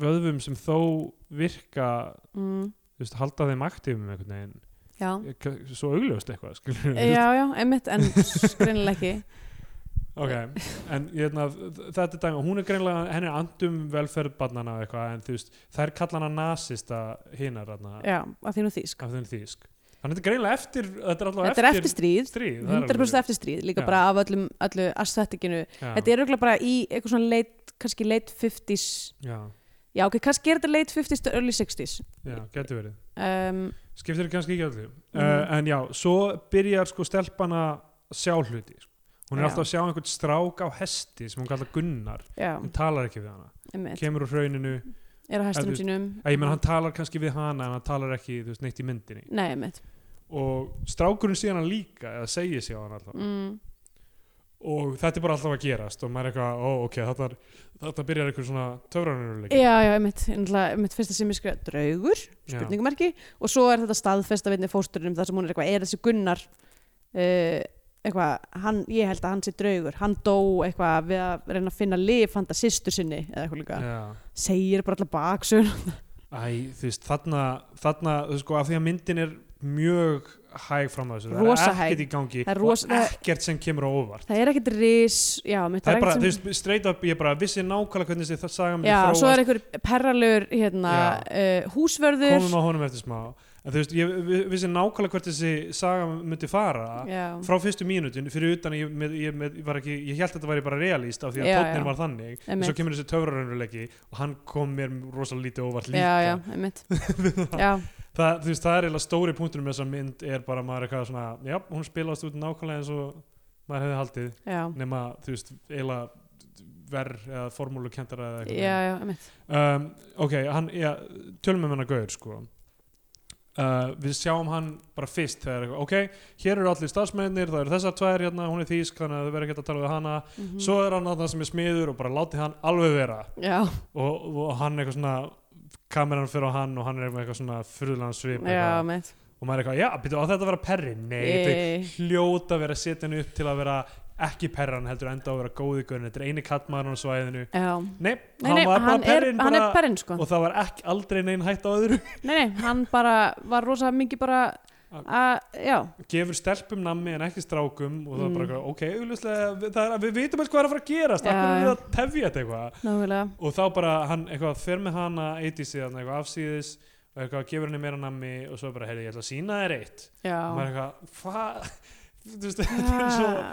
vöðvum sem þó virka,
mm,
þú veist, halda þeim aktífum einhvern veginn, eh,
já.
K- svo augljóst eitthvað, skilur
já, já, einmitt en greinilega ekki
Ok, en ég hefna, þetta er dæmi, hún er greinlega, henni er andum velferð barnana og eitthvað, en þú veist, þær kalla hana nasista hinar hana,
já, að því nú þýsk
af þeim þýsk. Þannig þetta er greinlega Sko, eftir, þetta er alltaf
Þetta er eftir stríð,
stríð.
100% eftir stríð líka
Já.
bara af öllum, öllu aesthetikinu
Já,
Þetta er auðvitað bara í eitthvað svona late, kannski late 50s
Já,
Já, ok, kannski er þetta late 50s to early 60s
já, getur verið.
um,
Skiptir kannski ekki öllu. Uh,
Mhm.
en já, svo byrjar sko stelpan að sjá hluti. Sko. Hún er
Já.
alltaf að sjá einhvern strák á hesti sem hún kallar Gunnar.
Já,
Hún talar ekki við hana.
einmitt
Kemur úr hrauninu.
Er á
Að
hæstunum
þú-
sínum
Eh, Ég menn, hann talar kannski við hana en hann talar ekki, þú veist, neitt í myndinni.
Nei, einmitt
og strákurinn sé hana líka eða segir sé hana alltaf
mm.
og þetta er bara alltaf að gerast og maður er eitthvað, ó ok, þetta, er, þetta byrjar einhver svona töfranuruleik
Já, já, einmitt, einmitt, einmitt fyrsta sem ég skrifa draugur, spurningumarki og svo er þetta staðfesta veitni fósturinn þar sem hún er eitthvað, er þessi Gunnar uh, eitthvað, hann, ég held að hann sé draugur, hann dó eitthvað við að reyna að finna lif handa systur sinni eða eitthvað líka, segir bara alltaf baksun
Æ, þú veist, þarna, þarna þú veist, sko, af því að myndin er mjög hæg fram að þessu,
Rosa
það er
hæg.
ekkert í gangi
Það er rosa-
og ekkert sem kemur á óvart
það er ekkert ris, já, mitt
það er bara,
ekkert
þú veist, straight up, ég bara vissi nákvæmlega hvernig þessi saga myndi
já,
þróast
svo er einhver perralur hérna, uh, húsvörður
komum á honum eftir smá en þú veist, ég vi- vissi nákvæmlega hvert þessi saga myndi fara
já,
frá fyrstu mínútin fyrir utan að ég, með, ég, með, ég, var ekki, ég held að þetta væri bara realist af því að
Já,
tónin
já.
var þannig en
Einmitt.
svo kemur þessi töfrarunulegi og hann kom mér rosalega lítið óvart
já,
líka
já, einmitt já,
Það, þú veist, það er eiginlega stóri punktur með þessa mynd er bara maður eitthvað svona já, hún spilast út nákvæmlega eins og maður hefði haldið
já,
nema, þú veist, eiginlega verð eða formúlukentara eða
já,
eitthvað
já, einmitt
um, ok, hann, já, tölum við hann að gauður sko Uh, við sjáum hann bara fyrst þegar, eitthvað, ok, hér eru allir starfsmennir það eru þessar tvær hérna, hún er þýsk þannig að þau verður ekki að tala við hana
Mhm.
svo er hann þarna sem er smiður og bara láti hann alveg vera
já,
og, og hann eitthvað svona kameran fyrir á hann og hann er með eitthvað svona furðulegan svip
já,
eitthvað.
einmitt
og maður er eitthvað, já, byrju, á þetta að vera perri nei, þetta
Nei.
er hljóta að vera að setja hann upp til að vera ekki perran heldur enda á að vera góði gaurin, þetta er eini kattmaður á svæðinu,
Já.
nei,
Nei, nei,
var bara
hann, er,
perrin
hann er
bara-
perinn sko
og það var ekki aldrei neinn hætt á öðru
Nei, nei, hann bara var rosa mikið bara
Ah.
að, já,
gefur stelpum nammi en ekki strákum og það var bara
Mm.
eitthvað, ok, augljóslega við, það er- við vitum alls hvað er að fara að gerast
Já,
af hverju er
já.
það að tefja þetta eitthvað
náðulega
og þá bara hann eitthvað fer með hana eitt í síðan eitthvað afsíðis og eitthvað gefur henni meira nammi og svo bara, heyrðu, ég ætla að sína þér eitt og maður
Já,
er eitthvað, hvað þú veist, þetta er svo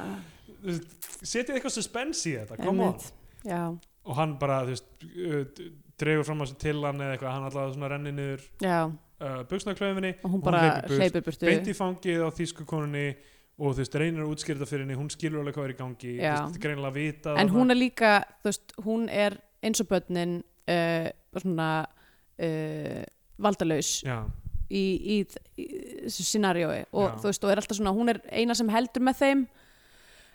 þú veist, setið eitthvað suspense í þetta, koma on
Einmitt. já,
og hann bara, þú veist, uh, d- dregur fram að sér til hann eða eitthvað, hann allavega svona renni niður
já
uh, buksnaklöfinni
og hún
Hún
bara
hleypur burt.
hleypur burtu
beint í fangið á þýsku konunni og þú veist, reynir að útskýra þetta fyrir henni hún skilur alveg hvað er í gangi
Já.
þú veist, þetta er greinilega að vita
en hún er líka, þú veist, hún er eins og börnin uh, svona uh, valdalaus
já,
í, í, í þessu scenariói og
Já.
þú veist, og er alltaf svona, hún er eina sem heldur með þeim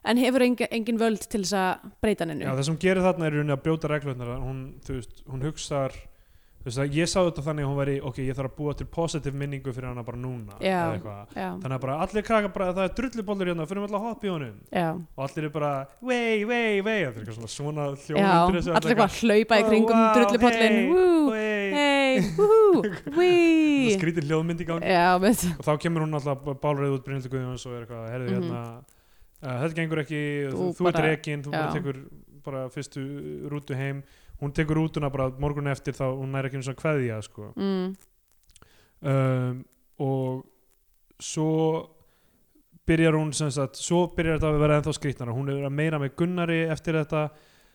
en hefur engin, engin völd til þess að breyta
já,
hennu
það sem hún gerir þarna er í rauninni að brjóta reglurnar hún, þú veist, hún hugsar þú veist, að ég sá þetta þannig að hún væri ok, ég þarf að búa til positive minningu fyrir hana bara núna
Já.
eða eitthvað.
Já,
þannig að bara allir krakkar bara það er drullubólur hérna, fyrir alltaf að hoppa í honum
já
og allir er bara, vei, vei, vei og það er eitthvað svona svona
Já,
hljóðundir
allir eitthvað að hlaupa í kringum
Ó, vá,
drullupollin
hey,
Woo,
vei,
hey, woo, wee
skrítir hljóðmynd í gangi
Já, veit
og þá kemur hún alltaf bálreið út Brynhildur Guðjóns og er eitthvað, herðu
Mhm.
hérna uh, þetta gengur ekki, þú,
Þú
þú ert
bara-
rekin þú bara
já.
tekur bara fyrstu rútu heim hún tekur rútuna bara morgun eftir þá hún næri ekki eins og kveðja sko.
mm,
um, og svo byrjar hún sem sagt, svo byrjar þetta að vera ennþá skrýtnara hún er að meira með Gunnari eftir þetta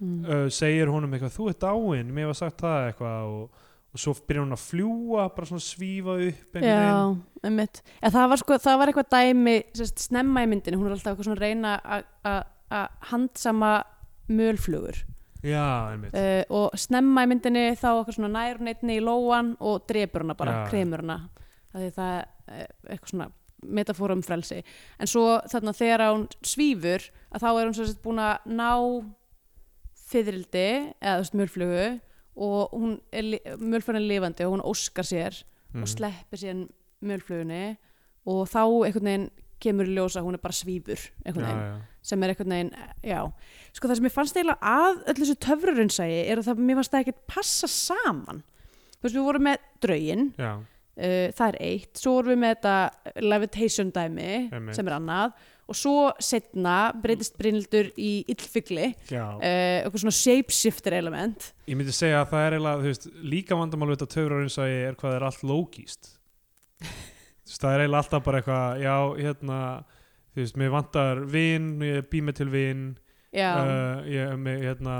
mm.
uh, segir honum eitthvað, þú ert dáin mér var sagt það eitthvað og, og svo byrjar hún að fljúa, bara svona svífa upp einhvern
Já, einmitt en það, var sko, það var eitthvað dæmi sérst, snemma í myndinu, hún er alltaf eitthvað svona að reyna að- að að handsama mölflugur
veginn já, einmitt,
uh, og snemma í myndinni þá eitthvað svona nær hún einni í lóan og drepur hana bara,
Já.
kremur hana það er það eh, eitthvað svona metafóra um frelsi en svo þarna þegar hún svífur að þá er hún svo sett búin að ná fyrildi eða þú veist mjölflugu og hún er mjölflugan er lifandi og hún óskar sér
Mhm.
og sleppir sér mjölflugunni og þá einhvern veginn kemur í ljós að hún er bara svífur einhvern
já,
veginn
já.
sem er einhvern veginn, já sko það sem ég fannst eiginlega að öllu þessu töfrurinsægi er að það, mér fannst það ekkert passa saman þú veist, við vorum með draugin
Já,
uh, það er eitt, svo vorum við með þetta levitation dæmi,
Einmitt.
sem er annað og svo setna breytist Brynildur í illfugli uh,
já.
eitthvað svona shapeshifter element
Ég myndi segja að það er eiginlega, þú veist, líka vandamál við þetta töfrarins að ég er hvað það er allt lógist. þú veist, það er eiginlega alltaf bara eitthvað, já, hérna, þú veist, mér vantar vin, ég bý mig til vin,
já,
uh, ég, er með, hérna,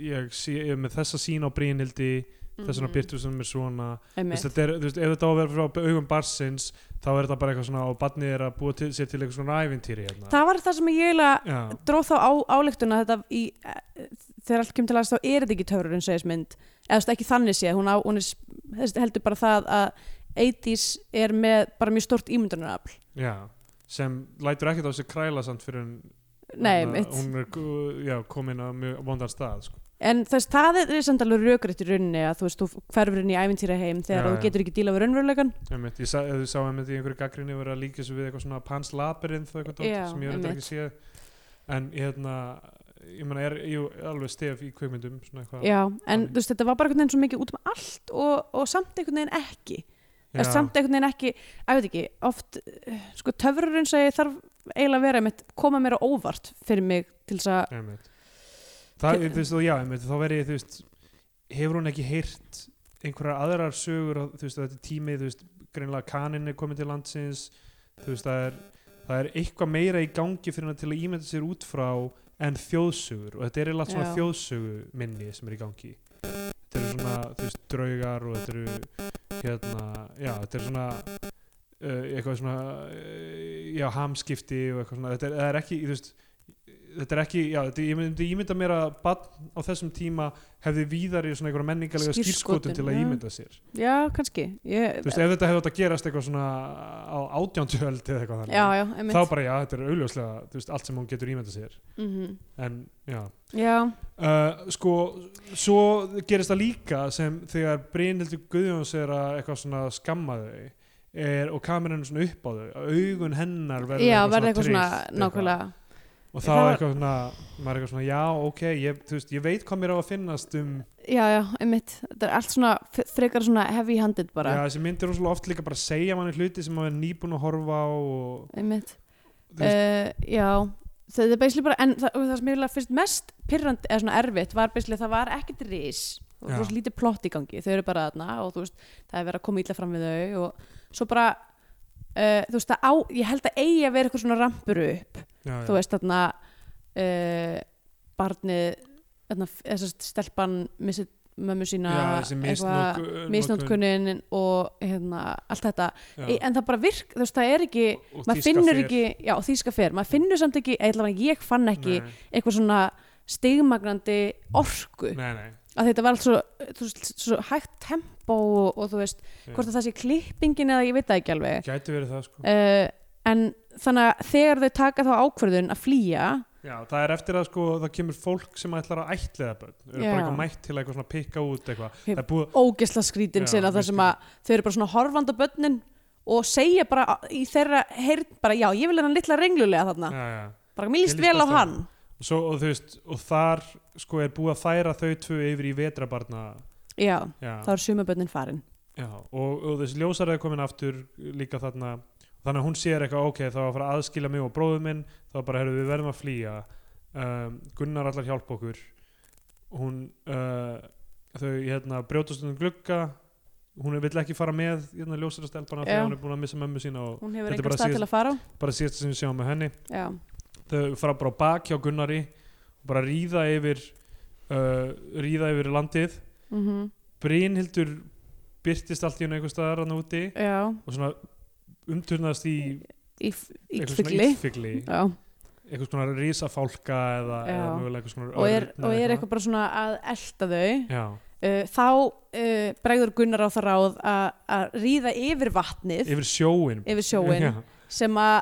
ég, sé, ég er með þessa sín á brínhildi, þess vegna byrtu sem er svona, þú veist,
Mhm. einmitt,
þetta er, þú veist, ef þetta á að vera frá augum barsins, þá er þetta bara eitthvað svona, og barnið er að búa til, sér til eitthvað svona ævintýri hérna.
það var það sem ég eiginlega
Já,
dróð þá á, áleiktuna þetta í, eh, þegar allt kemur til aðeins þá er þetta ekki törurinn segismynd eða þú veist, ekki þannig sé hún, á, hún er, þessi, heldur bara það að 80s er með bara mjög stort ímyndunarafl
já, sem lætur ekkert á sig kræla samt fyrir en
Nei,
Þarna,
mitt.
hún er gu- já, komin að mjög vondan stað sko.
en þess, það er samt alveg rökrétt í rauninni að þú veist, þú hverfur inn í æfintýra heim þegar
Já,
þú
já.
getur ekki díla við raunveruleikan
einmitt, ég sá, ef þú sá einmitt í einhverju gaggrinni verið að líka þessu við eitthvað svona Pans Labyrinth og eitthvað
Já,
dót sem ég er þetta ekki sé en ég hérna ég meina er jú, alveg stef í kveikmyndum svona eitthvað
já, en
þannig.
þú veist, þetta var bara einhvern veginn svo mikið út um allt og, og samt einhvern veginn ekki
Já,
en samt einhvern veginn ekki, að veit ekki oft, eh, sko töfrurinn segi þarf eiginlega að vera einmitt, koma mér á óvart fyrir mig til þess að
einmitt. það, þú veist, og já, einmitt, þá verið ég, þú veist hefur hún ekki heyrt einhverjar aðrar sögur á- þú veist, þetta er tími, þú veist, greinlega kaninn er komin til landsins þú veist, það er það er eitthvað meira í gangi fyrir hana til að ímynda sér út frá en þjóðsugur og þetta er eiginlega svona
Já.
þjóðsugu minni sem er í gangi þetta eru svona, þú veist, draugar og þetta eru hérna, já, þetta eru svona uh, eitthvað svona uh, já, hamskipti og eitthvað svona þetta er, það er ekki, þú veist þetta er ekki, já, þetta, ég myndi ímynda mér að bann á þessum tíma hefði víðari svona einhverja menningalega
Skírskotun,
skýrskotum til að
já.
ímynda sér
Já, kannski ég,
þú veist, ef þetta hefði átt að gerast eitthvað svona á átjándjöld eða eitthvað þannig
Já, já, einmitt
þá bara já, þetta er augljóslega þú veist, allt sem hún getur ímynda sér
Mhm.
en já,
Já,
uh, sko svo gerist það líka sem þegar Brynhildur Guðjóns er að eitthvað svona skamma þau er, og kameran er svona upp á þau að augun hennar verður
já verði eitthvað svona
tryllt, eitthvað.
nákvæmlega
og þá
Það
er
var-
eitthvað svona, maður er eitthvað svona já, ok, ég, þú veist, ég veit hvað mér á að finnast um
Já, já, einmitt Þetta er allt svona f- frekar svona heavy handed bara
já, þessi myndir hún svo oft líka bara að segja manni hluti sem maður er nýbúin að horfa á og,
Einmitt
Þú
uh, Já, þetta er beislega bara En það, og það sem ég vilja fyrst mest pyrrandi eða svona erfitt var beislega það var ekkit ris og
Já.
það var lítið plott í gangi þau eru bara þarna og þú veist það er verið að koma illa fram við þau og svo bara uh, þú veist það á, ég held að eigi að vera eitthvað svona rampur upp
já, já,
þú veist þarna uh, barnið þarna, þessast stelpan missið mömmu sína
já, þessi
eitthvað,
misnotku-
misnótkunin og hérna, allt þetta
já.
en það bara virk, þú veist það er ekki
og
maður
tíska
finnur
fer.
ekki, já þýska fer maður finnur samt ekki, eða ég fann ekki
nei,
eitthvað svona stigmagnandi orku,
nei, nei.
að þetta var allt svo, þú veist, svo hægt tempo og, og þú veist, hvort að það sé klippingin eða ég veit það ekki alveg
gæti verið það sko
uh, en þannig að þegar þau taka þá ákvörðun að flýja
já, það er eftir að sko það kemur fólk sem ætlar að ætliða börn eru
Já.
bara eitthvað mætt til að eitthvað svona pikka út eitthvað
Ég-
það er búið
ógesla skrítin
Já,
sinna þar
mjög
sem að þau eru bara svona horfandi á börnin og segja bara í þeirra heyrn bara já, ég vil hennan litla renglulega þarna
já, já.
bara mér líst
Mér
vel á
líst best á
hann
Og, svo, og þú veist og þar sko er búið að færa þau tvö yfir í vetrabarna
já,
já,
þá er sumabörnin farin
já. Og, og þessi ljósar er komin aftur líka þarna þannig að hún sér eitthvað ok þá var að fara að aðskila mig og bróðu minn þá bara herru við verðum að flýja um, Gunnar allar hjálpa okkur hún uh, þau hérna brjótast um glugga hún vill ekki fara með hérna, ljósarastelpana
Já.
þegar hún er búin að missa mömmu sína og
hún hefur
Þetta er bara
engan stað
síðast-
til að fara á
bara síðast sem við sjáum með henni
já,
þau fara bara á bak hjá Gunnari og bara ríða yfir uh, ríða yfir landið
mm
Brynhildur byrtist allt í hennu einhver staðar hann úti
já
og svona umturnast í
í, f- í
einhvers konar
kvigli
illfigli
já,
einhvers konar risafálka eða,
Já.
eða mögulega einhvers konar
og er,
örn eða
og er eitthvað bara svona að elta þau
já,
uh, þá uh, bregður Gunnar á það ráð að- að ríða yfir vatnið
yfir sjóin
yfir sjóin
já,
sem að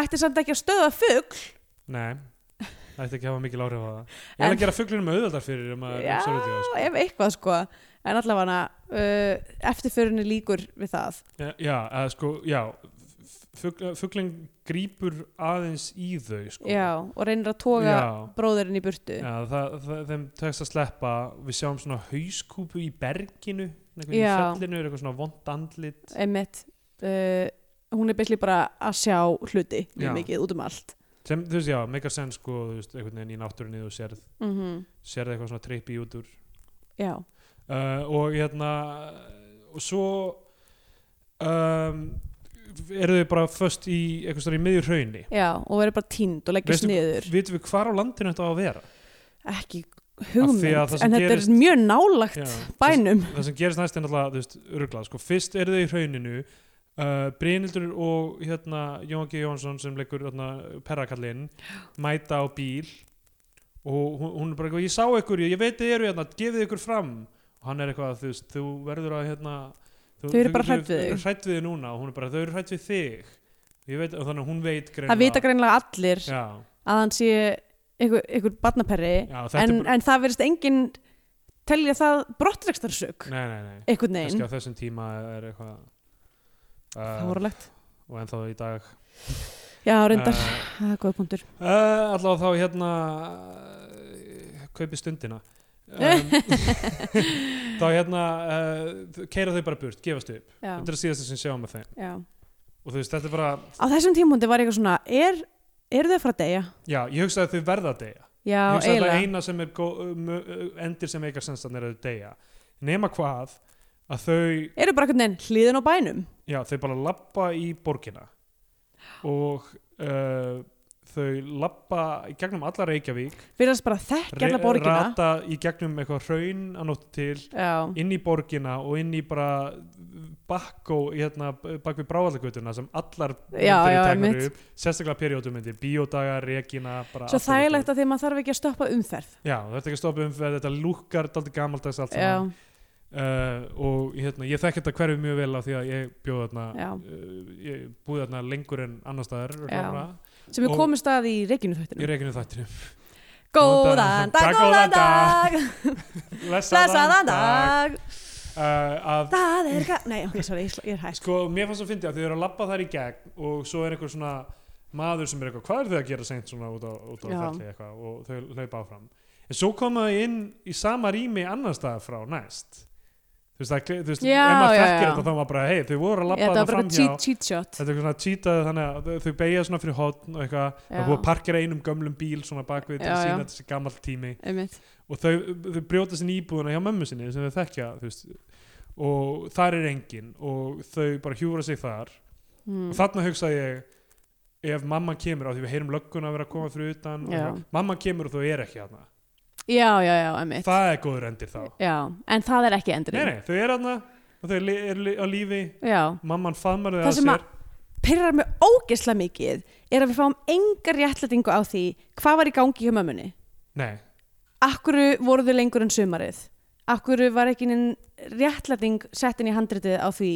ætti samt ekki að stöða fugg
nei, það ætti ekki að hafa mikil áhrif á það ég
En-
er að gera fuglunum auðvöldar fyrir um að
Já, ef eitthvað sko en allavega uh, eftirförinni líkur við það
Já, já, eða sko, já fugl, fuglin grípur aðeins í þau sko.
já, og reynir að toga
Já.
bróðurinn í burtu
Já, það, það, þeim tekst að sleppa við sjáum svona hauskúpu í berginu einhvern í
Já.
fjallinu, er eitthvað svona vond andlit
einmitt uh, hún er byrli bara að sjá hluti
Já.
mjög mikið út um allt
sem, þú veist, já, meikar senn sko, þú veist, einhvern veginn í náttúrunni þú sérð,
mm
sérð eitthvað svona trippi út úr
já,
uh, og hérna og svo um, eru þau bara föst í eitthvað svona í miðjur hraunni
já, og verður bara tínd og leggjast
Veistu-
niður
vitum við hvar á landinu þetta á að vera
ekki
Af því að það
hugmynd,
sem
en þetta
gerist-
er mjög nálagt
Já.
bænum
það sem gerist næst er náttúrulega, þú veist, örglað sko, fyrst eru þau í hrauninu uh, Brynildur og hérna Jón G. Jónsson sem leikur hérna, perrakallinn mæta á bíl og hún, hún er bara eitthvað, ég sá ykkur, ég, ég veit þið eru hérna, gefið ykkur fram og hann er eitthvað, þú veist, þú verður að hérna, þú,
Þau eru bara hrædd við
þau
þig.
eru hrædd við þig núna og hún er bara, þau eru hrætt við þig ég veit, og þannig að hún veit
það vita greinlega allir
já,
að hann sé einhver, einhver barnaperri
já, þetta
en,
er bara,
en það verðist enginn telja það brottrekstarsök
nei, nei, nei
einhvern
kannski
veginn,
á þessum tíma er eitthvað
það
uh,
voru lagt
og ennþá í dag
já, reyndar,
uh,
það er góða punktur
Uh, allavega þá hérna uh, kaupi stundina um, þá hérna uh, keira þau bara burt, gefast upp
já,
þetta er síðast sem sjáum með þeim
já.
og þú veist, þetta er bara,
á þessum tímundi var eitthvað svona er, eru þau að fara að deyja?
já, ég hugsa að þau verða að deyja
já,
ég hugsa að
eiginlega
það eina sem er gó, mö, endir sem eikar sensan er að þau deyja nema hvað að þau,
eru bara einhvern veginn hliðin á bænum
já, þau bara lappa í borgina og uh, þau lappa í gegnum alla Reykjavík
virðast bara þekkja hana
re-
borgina
rata í gegnum eitthvað hraun að nóttu til
já,
inn í borgina og inn í bara bakkó, hérna, bak við bráallagutuna sem allar
Já,
myndir
já,
teknar
einmitt.
upp, sérstaklega periódumyndir bíódaga, regina, bara
svo
allt þetta.
þægilegt að því að maður þarf ekki að stoppa umferð
Já, það ert ekki að stoppa um fyrir þetta lúkkar daldi gamaldags allt
já,
saman uh, og hérna, ég þekki þetta hverfi mjög vel af því að ég bjóð þarna
já,
uh, ég búið þarna lengur en annar staðar
Já.
örglára,
sem við
Og-
komum stað í reikinu
í
þættinu
reginu þættinu
góðan dag, góðan dag blessaðan
Blessaðan
dag
uh, að
það er gæt nei, ok, sorry, ég sl- ég er hægt
Sko, mér fannst það að fyndi að þau eru að labba þær í gegn og svo er einhver svona maður sem er eitthvað, hvað eru þau að gera seint svona út á, út á
Já.
fjalli eitthvað og þau hlaupa áfram. En svo koma þau inn í sama rými annar staðar frá næst. Þú veist, það, er kle- þú veist
Já,
ef maður
já,
þekkir
já.
þetta þá er maður bara, hei, þau voru að
Ég,
labba
þetta var
þarna
bara
framhjá.
cheat, cheat shot
Þetta er svona cheatað þannig að þau- þau beigja svona fyrir hotn og eitthvað, það er
Já.
búið að parkera einum gömlum bíl svona bakvið til
Já,
að
já.
sína þessi gammal tími
einmitt,
og þau, þau brjóta sinni íbúðuna hjá mömmu sinni sem þau þekkja þú veist, og þar er engin og þau bara hjúra sig þar
mm.
og þarna hugsaði ég ef mamma kemur á því við heyrum lögguna að vera að koma fyrir utan og
Já.
eitthvað, mamma kemur og þau er ekki hana
já, já, já, einmitt
það er góður endir þá nei,
já, en það er ekki endurinn
nei, þau er hana og þau li- eru li- á lífi
já,
mamman faðmar þau
Það
að
sem
sér
að- pyrrar mig ógeðslega mikið er að við fáum engar réttlætingu á því hvað var í gangi hjá mömmunni
nei,
Akkuru voru þau lengur en sumarið Akkuru var ekki neinn réttlæting sett inn í handritið á því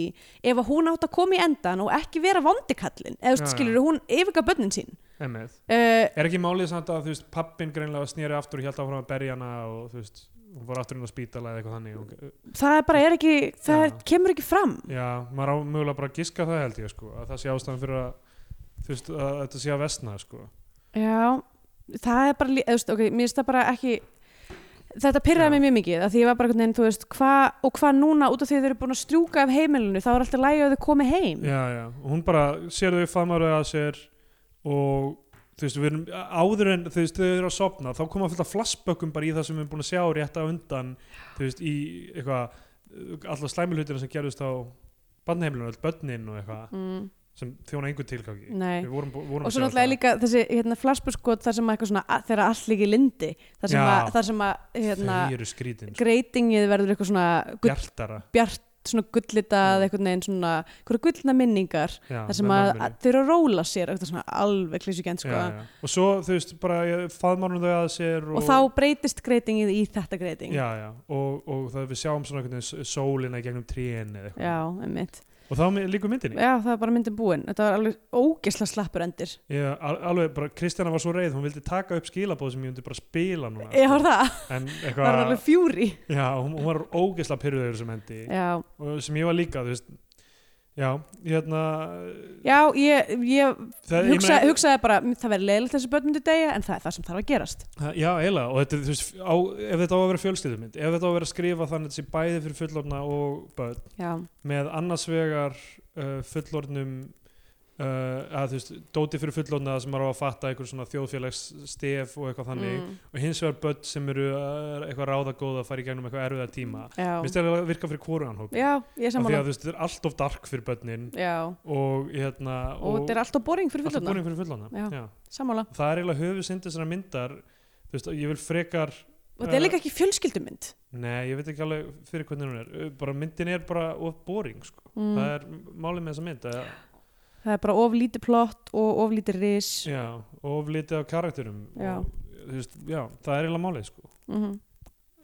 ef að hún átt að koma í endan og ekki vera vondikallin eða þú veist,
Já, já.
skilur hún yfirga börnin sín
emið
uh,
er ekki málið samt að þú veist pappin greinlega snýri aftur og hjálta áfram að berja hana og þú veist hún fór aftur inn á spítala eða eitthvað þannig og,
það er bara er ekki það
Já.
kemur ekki fram
já, maður á mögulega bara að giska það held ég sko, að það sé ástæðan fyrir að þú veist, að þetta sé að vestna sko.
Já, það er bara lí- eða, þú veist, ok, mér finnst það bara ekki þetta
Já.
pyrraði mig mjög mikið að því ég var bara einhvern veginn, þú veist, hvað og hvað núna út af því að þau eru búin að strjúka af heimilinu þá er alltaf lægi að þau komi heim
já, já, og hún bara sér þau famar að sér og þú veist, við erum áður en þú veist, þau eru að sopna, þá koma fullt af flashbökkum bara í það sem við erum búin að sjá rétt á undan, þú veist, í eitthvað alltaf slæmi hlutina sem gerðust á barnaheimilinu, öll börnin og eitthvað
mm,
sem þjóna einhver tilgangi
nei
við vorum, bú- vorum
og svo náttúrulega líka þessi hérna, flashbuskot þar sem að eitthvað svona að- þegar allt líka í lindi þar sem
Já.
að, þar sem að hérna,
hérna, þau eru skrítin, sko,
greitingið verður eitthvað svona gull,
bjartara
bjart, svona gullitað
Já.
eitthvað neginn svona, hverju gullna minningar
já,
þar sem
með
að,
mömmunni.
að þau eru að róla sér eitthvað svona alveg klísugent sko
já, já. og svo þú veist, bara faðmánum þau að sér
og þá breytist greitingið í þetta greiting
já, já, og, og það við sjáum svona einhvern veginn s- sólina í gegnum tríin eða eitthvað
já einmitt
og þá með- líkur myndinni
já það var bara myndin búin þetta var alveg ógesla slappur endir
ég, al- alveg bara, Kristjana var svo reið hún vildi taka upp skilabóð sem ég myndi bara spila núna
ég var
sko.
það,
en
það var alveg
eitthvað,
fjúri
já, hún, hún var ógeðsla pyrröður sem hendi,
já,
og sem ég var líka þú veist, já, hérna
já ég, ég
það- ég
hugsa,
meina-
hugsaði bara það verður leiðilegt þessi börn myndi degja en það er það sem þarf að gerast
Það- Já, eiginlega, og þetta, er, þú veist, á, ef þetta á að vera fjölskyldumynd, ef þetta á að vera skrifa þannig að þetta sé bæði fyrir fullorna og börn,
já,
með annars vegar uh, fullornum, uh, að þú veist, dóti fyrir fullorna sem er á að fatta einhver svona þjóðfélags stef og eitthvað þannig,
mm,
og hins vegar börn sem eru uh, eitthvað ráðagóð að fara í gegnum eitthvað erfiða tíma. Mér
já.
finnst þetta að virka fyrir hvorugan hóp.
Mm. já, ég er
Af því
sammála
að þú veist, þetta er alltof dark fyrir börnin
já,
og hérna,
og þetta er alltaf boring fyrir
alltaf
fullorna
búin fyrir fullorna.
Já.
Já.
sammála,
Það er eiginlega höfu syndið sem myndar, þú veist, ég vil frekar
og þetta er
Eh,
líka ekki fjölskyldumynd
Nei, ég veit ekki alveg fyrir hvernig hún er Ö, bara myndin er bara of boring sko.
mm,
það er málið með þessa mynd að,
það er bara of lítið plott og of lítið ris
já, of litið á karakterum
Já.
og, þú veist, já, það er eiginlega málið sko.
mhm,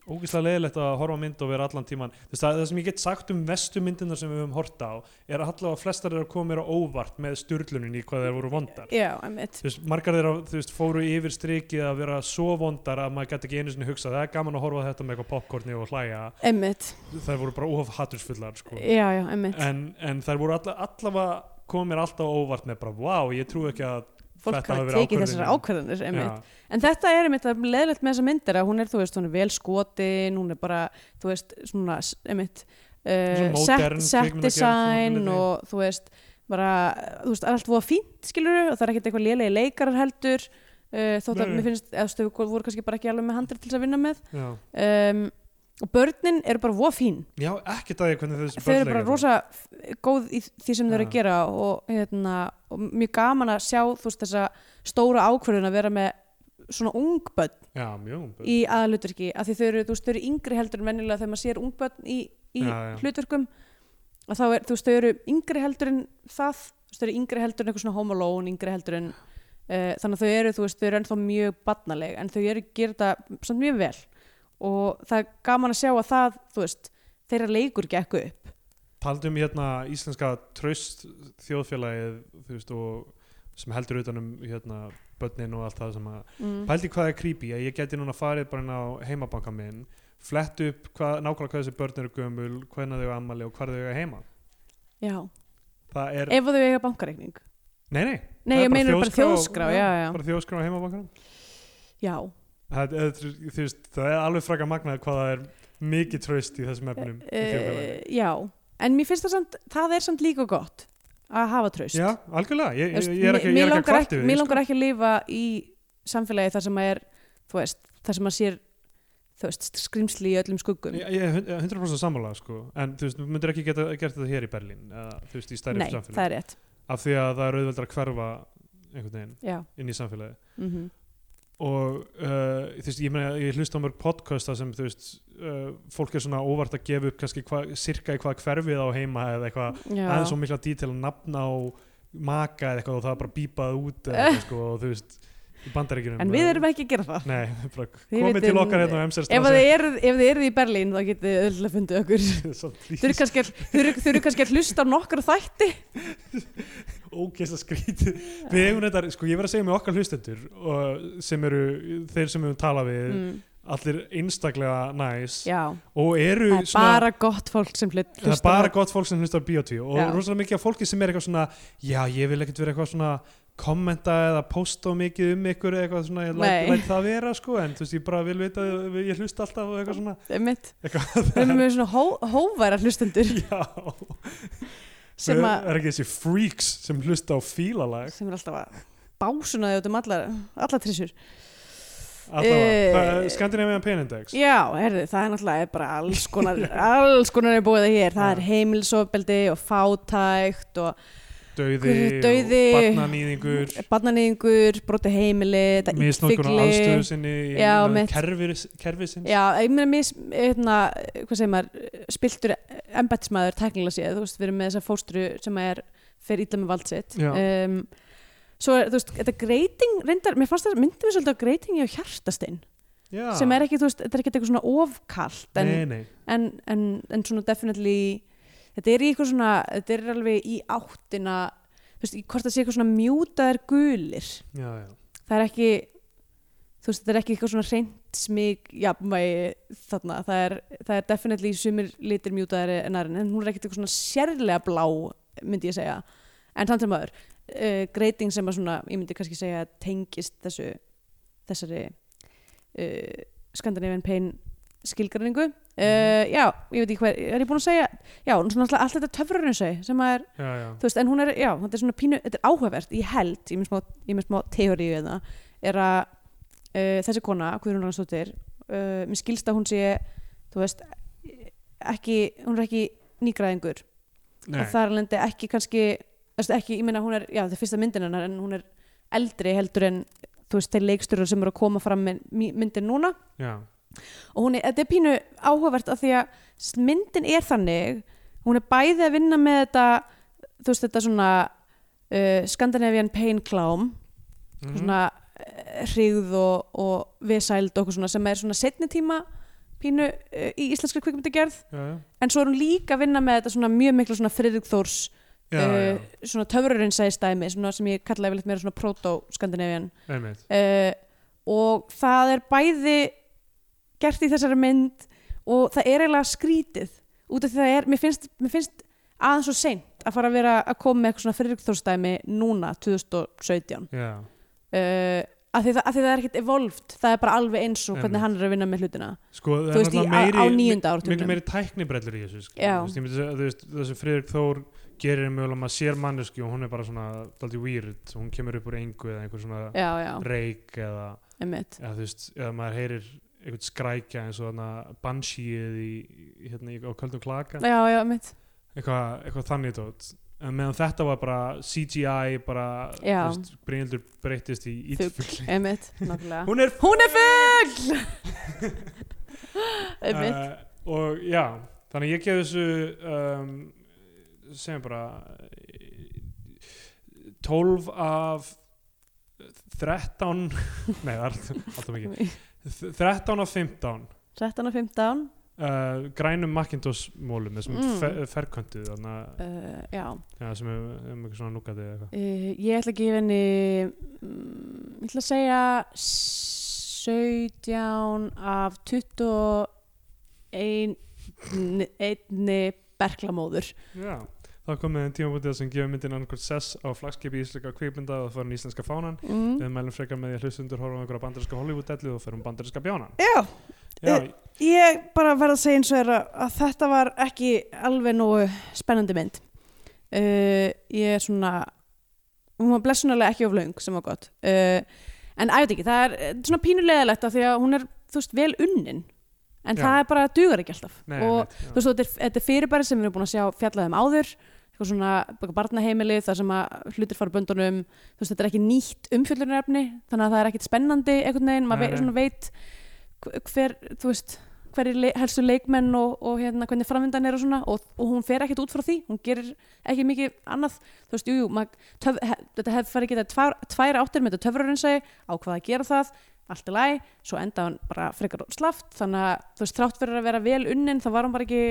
ógislega leiðilegt að horfa á mynd og vera allan tíman Þess, það, það sem ég get sagt um vestu myndinar sem við höfum horta á er að allavega flestar eru að koma mér á óvart með styrlunin í hvað þeir voru vondar
já, emitt
Þú veist, margar þeirra þú veist, fóru yfir strikið að vera svo vondar að maður gæti ekki einu sinni hugsa það er gaman að horfa á þetta með eitthvað popcorni og hlæja
emitt,
þær voru bara of hatursfullar sko.
já, já, emitt
en, en þær voru alla, allavega komið mér alltaf á óvart með bara wow, ég trú ekki að
fólk
þetta hafi
hafa
verið
tekið þessar ákvörðanir emitt, en þetta er emitt að leðilegt með þessar myndir að hún er, þú veist, hún er vel skotin hún er bara, þú veist, svona emitt, uh,
Svona modern
set, set
kvikmyndagerð,
design
svona
og þú veist, bara þú veist, allt voða fínt, skilur og það er ekkert eitthvað lélegi leikarar heldur uh, þótt
Nei.
að mér finnst, eða stöðu voru kannski bara ekki alveg með handrið til þess að vinna með
já.
um, og börnin eru bara voða fín
já, ekki það ég hvernig þessi
þau eru
börn
bara
leika
rosa f- góð í því sem þau eru að
Já.
gera og, hérna, og mjög gaman að sjá þú veist þessa stóra ákvörðun að vera með svona ungbönn
það. já, mjög ung börn.
í aðalutverki af því þau eru, þú veist, þau eru yngri heldur en venjulega þegar maður sér ungbönn í, í
Já, já.
hlutverkum að þá er, þú veist, þau eru yngri heldur en það þú veist, þau eru yngri heldur en eitthvað svona home alone yngri heldur en uh, þannig að þau eru, þú veist, þau eru ennþá mjög barnaleg en þau eru að gera þetta samt mjög vel og það er gaman að sjá að það, þú veist, þeirra leikur gekk upp
Talandi um hérna íslenska tröst þjóðfélagið þú veist, og, sem heldur utanum hérna, börnin og allt það sem að
mm.
pældi hvað er creepy að ég geti núna farið bara inn á heimabanka minn flett upp hvað, nákvæmlega hvað þessi börn eru gömul hvenna þau eiga ammali og hvar þau eiga heima
Já,
það er,
ef að þau eiga bankareikning
nei nei
Nei,
það
ég
er bara
meina bara þjóðskrá, já, já,
bara þjóðskrá á heimabankanum
já,
Það, eða, þú- þú veist, það er alveg frækka magnað hvað það er mikið tröst í þessum efnum í þjóðfélagi.
uh, já. En mér finnst það samt, það er samt líka gott að hafa traust
Já, algjörlega, ég,
Þú veist,
ég, ég er ekki, ég
mér
er ekki að
langar
kvarti
Mér
við því, sko.
langar ekki að lifa í samfélagi þar sem að er, þú veist, þar sem að sér, þú veist, skrimsli í öllum skuggum
Ég, ég er hund- 100% sammála sko. en þú veist, þú myndir ekki geta gert þetta hér í Berlín eða, þú veist, í stærri
Nei, það
samfélagi
er rétt,
af því að það er auðveldar að hverfa einhvern veginn
já
inn í samfélagi
mm
og uh, þú veist, ég, meina, ég hlusta á mörg podcasta sem þú veist, uh, fólk er svona óvart að gefa upp kannski hva, sirka í hvað hverfið á heima eða eitthvað
Já,
aðeins svo mikla dítil að nafna á maka eða eitthvað og það er bara bípað út eða eitthvað sko og þú veist í bandaríkjunum uh,
en við erum ekki að gera það
um Nei, bara
Þið
komið
vitið-
til okkar hérna á MSR
Ef að þið eruð- ef þið eruð í Berlín þá getið þið öll að fundi okkur Þau eru kannski,
Þurrkast
að- þau eru- þau eru kannski að hlusta á nokkra þætti
Ógeðslega skrítið Við hefum þetta, sko ég verð að segja með okkar hlustendur og, sem eru þeir sem við höfum talað við
mm,
allir einstaklega næs
Já,
og eru
það er bara gott fólk sem hlut
það er bara gott fólk sem hlustar á Bíotví og
Já.
rosalega mikið af fólki sem er eitthvað svona já, ég vil ekkert vera eitthvað svona kommenta eða posta of mikið um ykkur eða eitthvað svona, ég læt,
Nei.
læt það vera sko en þú veist, ég bara vil vita, að ég hlusta alltaf og eitthvað svona,
mitt,
eitthvað
við erum með svona hó, hóværa hlustendur
já,
sem,
Við-
að,
er ekki þessi freaks sem hlusta á fílalag
sem er alltaf að básuna þau út um allar, allar trissur Eh,
Allavega, Skandinavian Penindex
Já, herðu, það er náttúrulega bara alls konar, alls konar er búið hér. Það er
Já.
heimilsofbeldi og fátækt og
Dauði,
Guð, dauði,
og barnanýðingur
barnanýðingur, broti heimili, þetta
Misnotkun á
illfygli.
aðstöðu sinni í
Já,
innan
mitt.
kerfis, kerfisins
Já, ég meina mis, hérna, hvað segir maður, spiltur embættismæður tæknilega séð, þú veist, við erum með þessa fóstru sem er fyrir ítla með vald sitt.
Já.
Um, svo, er, þú veist, þetta greiting, reyndar, mér fannst það, myndum við svolítið á greitingi á hjartastein,
Já.
sem er ekki, þú veist, þetta er ekki eitthvað svona ofkalt, en,
Nei, nei,
en, en, en svona definitely, þetta er í eitthvað svona, þetta er alveg í áttina, þú veist, í hvort það sé eitthvað svona mjútaðar gulir
já, já
það er ekki þú veist, þetta er ekki eitthvað svona reynt smík jafnvægi þarna það er, það er definitely sumir litir mjútaðari en aðrin, en hún er ekkert eitthvað svona sérlega blá, myndi ég segja en samt sem maður, uh, greiting sem að svona, ég myndi kannski segja tengist þessu, þessari uh, Scandinavian Pain skilgræningu uh,
Mhm.
já, ég veit ekki hver, er ég búin að segja já, hún er svona alltaf allt þetta töfrarinn sem að er
Já, já,
þú veist, en hún er, já, þetta er svona pínu þetta er áhugavert, ég held, ég er með smá, ég er með smá teóriu við það, er að uh, þessi kona, Guðrún Rannsdóttir uh, mér skilst að hún sé þú veist, ekki hún er ekki nýgræðingur
nei,
og þar alveg ekki kannski þú veist, ekki, ég meina hún er, já, þetta er fyrsta myndin hennar en hún er eldri heldur en þú veist, þeir leikstjórar sem eru að koma fram með mý- myndin núna
já,
og hún er, þetta er pínu áhugavert af því að s- myndin er þannig hún er bæði að vinna með þetta þú veist þetta svona uh, Scandinavian pain klám
Mhm.
svona uh, hrigð og, og vesæld og okkur svona sem er svona setni tíma pínu uh, í íslenskri kvikmyndagerð
já, já,
en svo er hún líka að vinna með þetta svona mjög miklu svona Friðrik Þórs
já,
uh,
já,
svona töfrurinsæðistæmi svona sem ég kallaði vel eitt meira svona proto-Scandinavian
einmitt
uh, og það er bæði gert í þessari mynd og það er eiginlega skrítið út af því það er, mér finnst, mér finnst aðeins og seint að fara að vera að koma með eitthvað svona fyrirkþórstæmi núna 2017 uh,
Já,
Eh, af, því það, af því það er ekkert evolved það er bara alveg eins og
Einmitt.
hvernig hann er að vinna með hlutina
sko, það
Þú
er
veist, í-
náttúrulega meiri,
á- á níunda áratugnum.
miklu meiri tæknibrellur í þessu skilur.
Já.
Þú veist, ég myndi segja, þú veist, það sem Friðrik Þór gerir mjögulega maður sér manneski og hún er bara svona daldi weird, hún kemur upp úr engu eða einhver svona
já, já,
reik eða,
einmitt
eða þú veist, eða maður heyrir einhvern skrækja eins og þarna bansíið í, í- hérna, í, á köldum klaka
já, já, einmitt
eitthvað, eitthvað þannig tótt en meðan þetta var bara CGI bara,
Já.
Brynildur breyttist í ítfugli
einmitt, nákvæmlega
hún er
hún er full einmitt,
uh, og já, þannig að ég gef þessu um, segjum bara eh, 12 af 13 nei, það er allt- alltaf mikið 13 af 15
13 og 15
uh, grænum Macintosh mólum þessum
Mm.
mm. ferköntu þannig
uh, já
ja, sem er um eitthvað svona núgati eða eitthvað
Uh, ég ætla að gefa henni mm, ég ætla að segja 17 af 21 einni berklamóður
já Þá komið en tímabútið sem gefur myndin annarkvort sess á flagskipi íslenska kvikmynda og það var íslenska fánan.
mm.
Við mælum frekar með því að hlustundur horfum einhverja bandarinska Hollywood-dellu og ferum bandarinska bjánan.
Já,
Já,
Eh, ég bara verð að segja eins og er að, að þetta var ekki alveg nógu spennandi mynd uh, ég er svona hún var blessunarlega ekki of laung sem var gott uh, en að ég veit ekki, það er eh, svona pínulegilegt af því að hún er, þú veist, vel unnin en
Já.
það er bara dugar ekki alltaf
Nei,
og
einmitt,
þú
já.
veist, þetta er, þetta er fyrirbæri sem við erum búin að sjá fjallað um áður eitthvað svona bara barnaheimili þar sem að hlutir fara böndunum þú veist, þetta er ekki nýtt umfjöllunarefni þannig að það er ekkit spennandi einhvern veginn maður
Nei,
veit,
nei.
svona veit hv- hver, þú veist hverjir le helstu leikmenn og, og hérna, hvernig framvindan er og svona og, og hún fer ekkit út frá því hún gerir ekki mikið annað þú veist, jú, jú, mað, töf, hef, þetta hefði farið geta tvær, tvær áttir með þetta töfrarinn segi á hvað að gera það, allt er læg svo enda hann bara frekar slaft þannig að þú veist, þrátt fyrir að vera vel unnin þá var hann bara ekki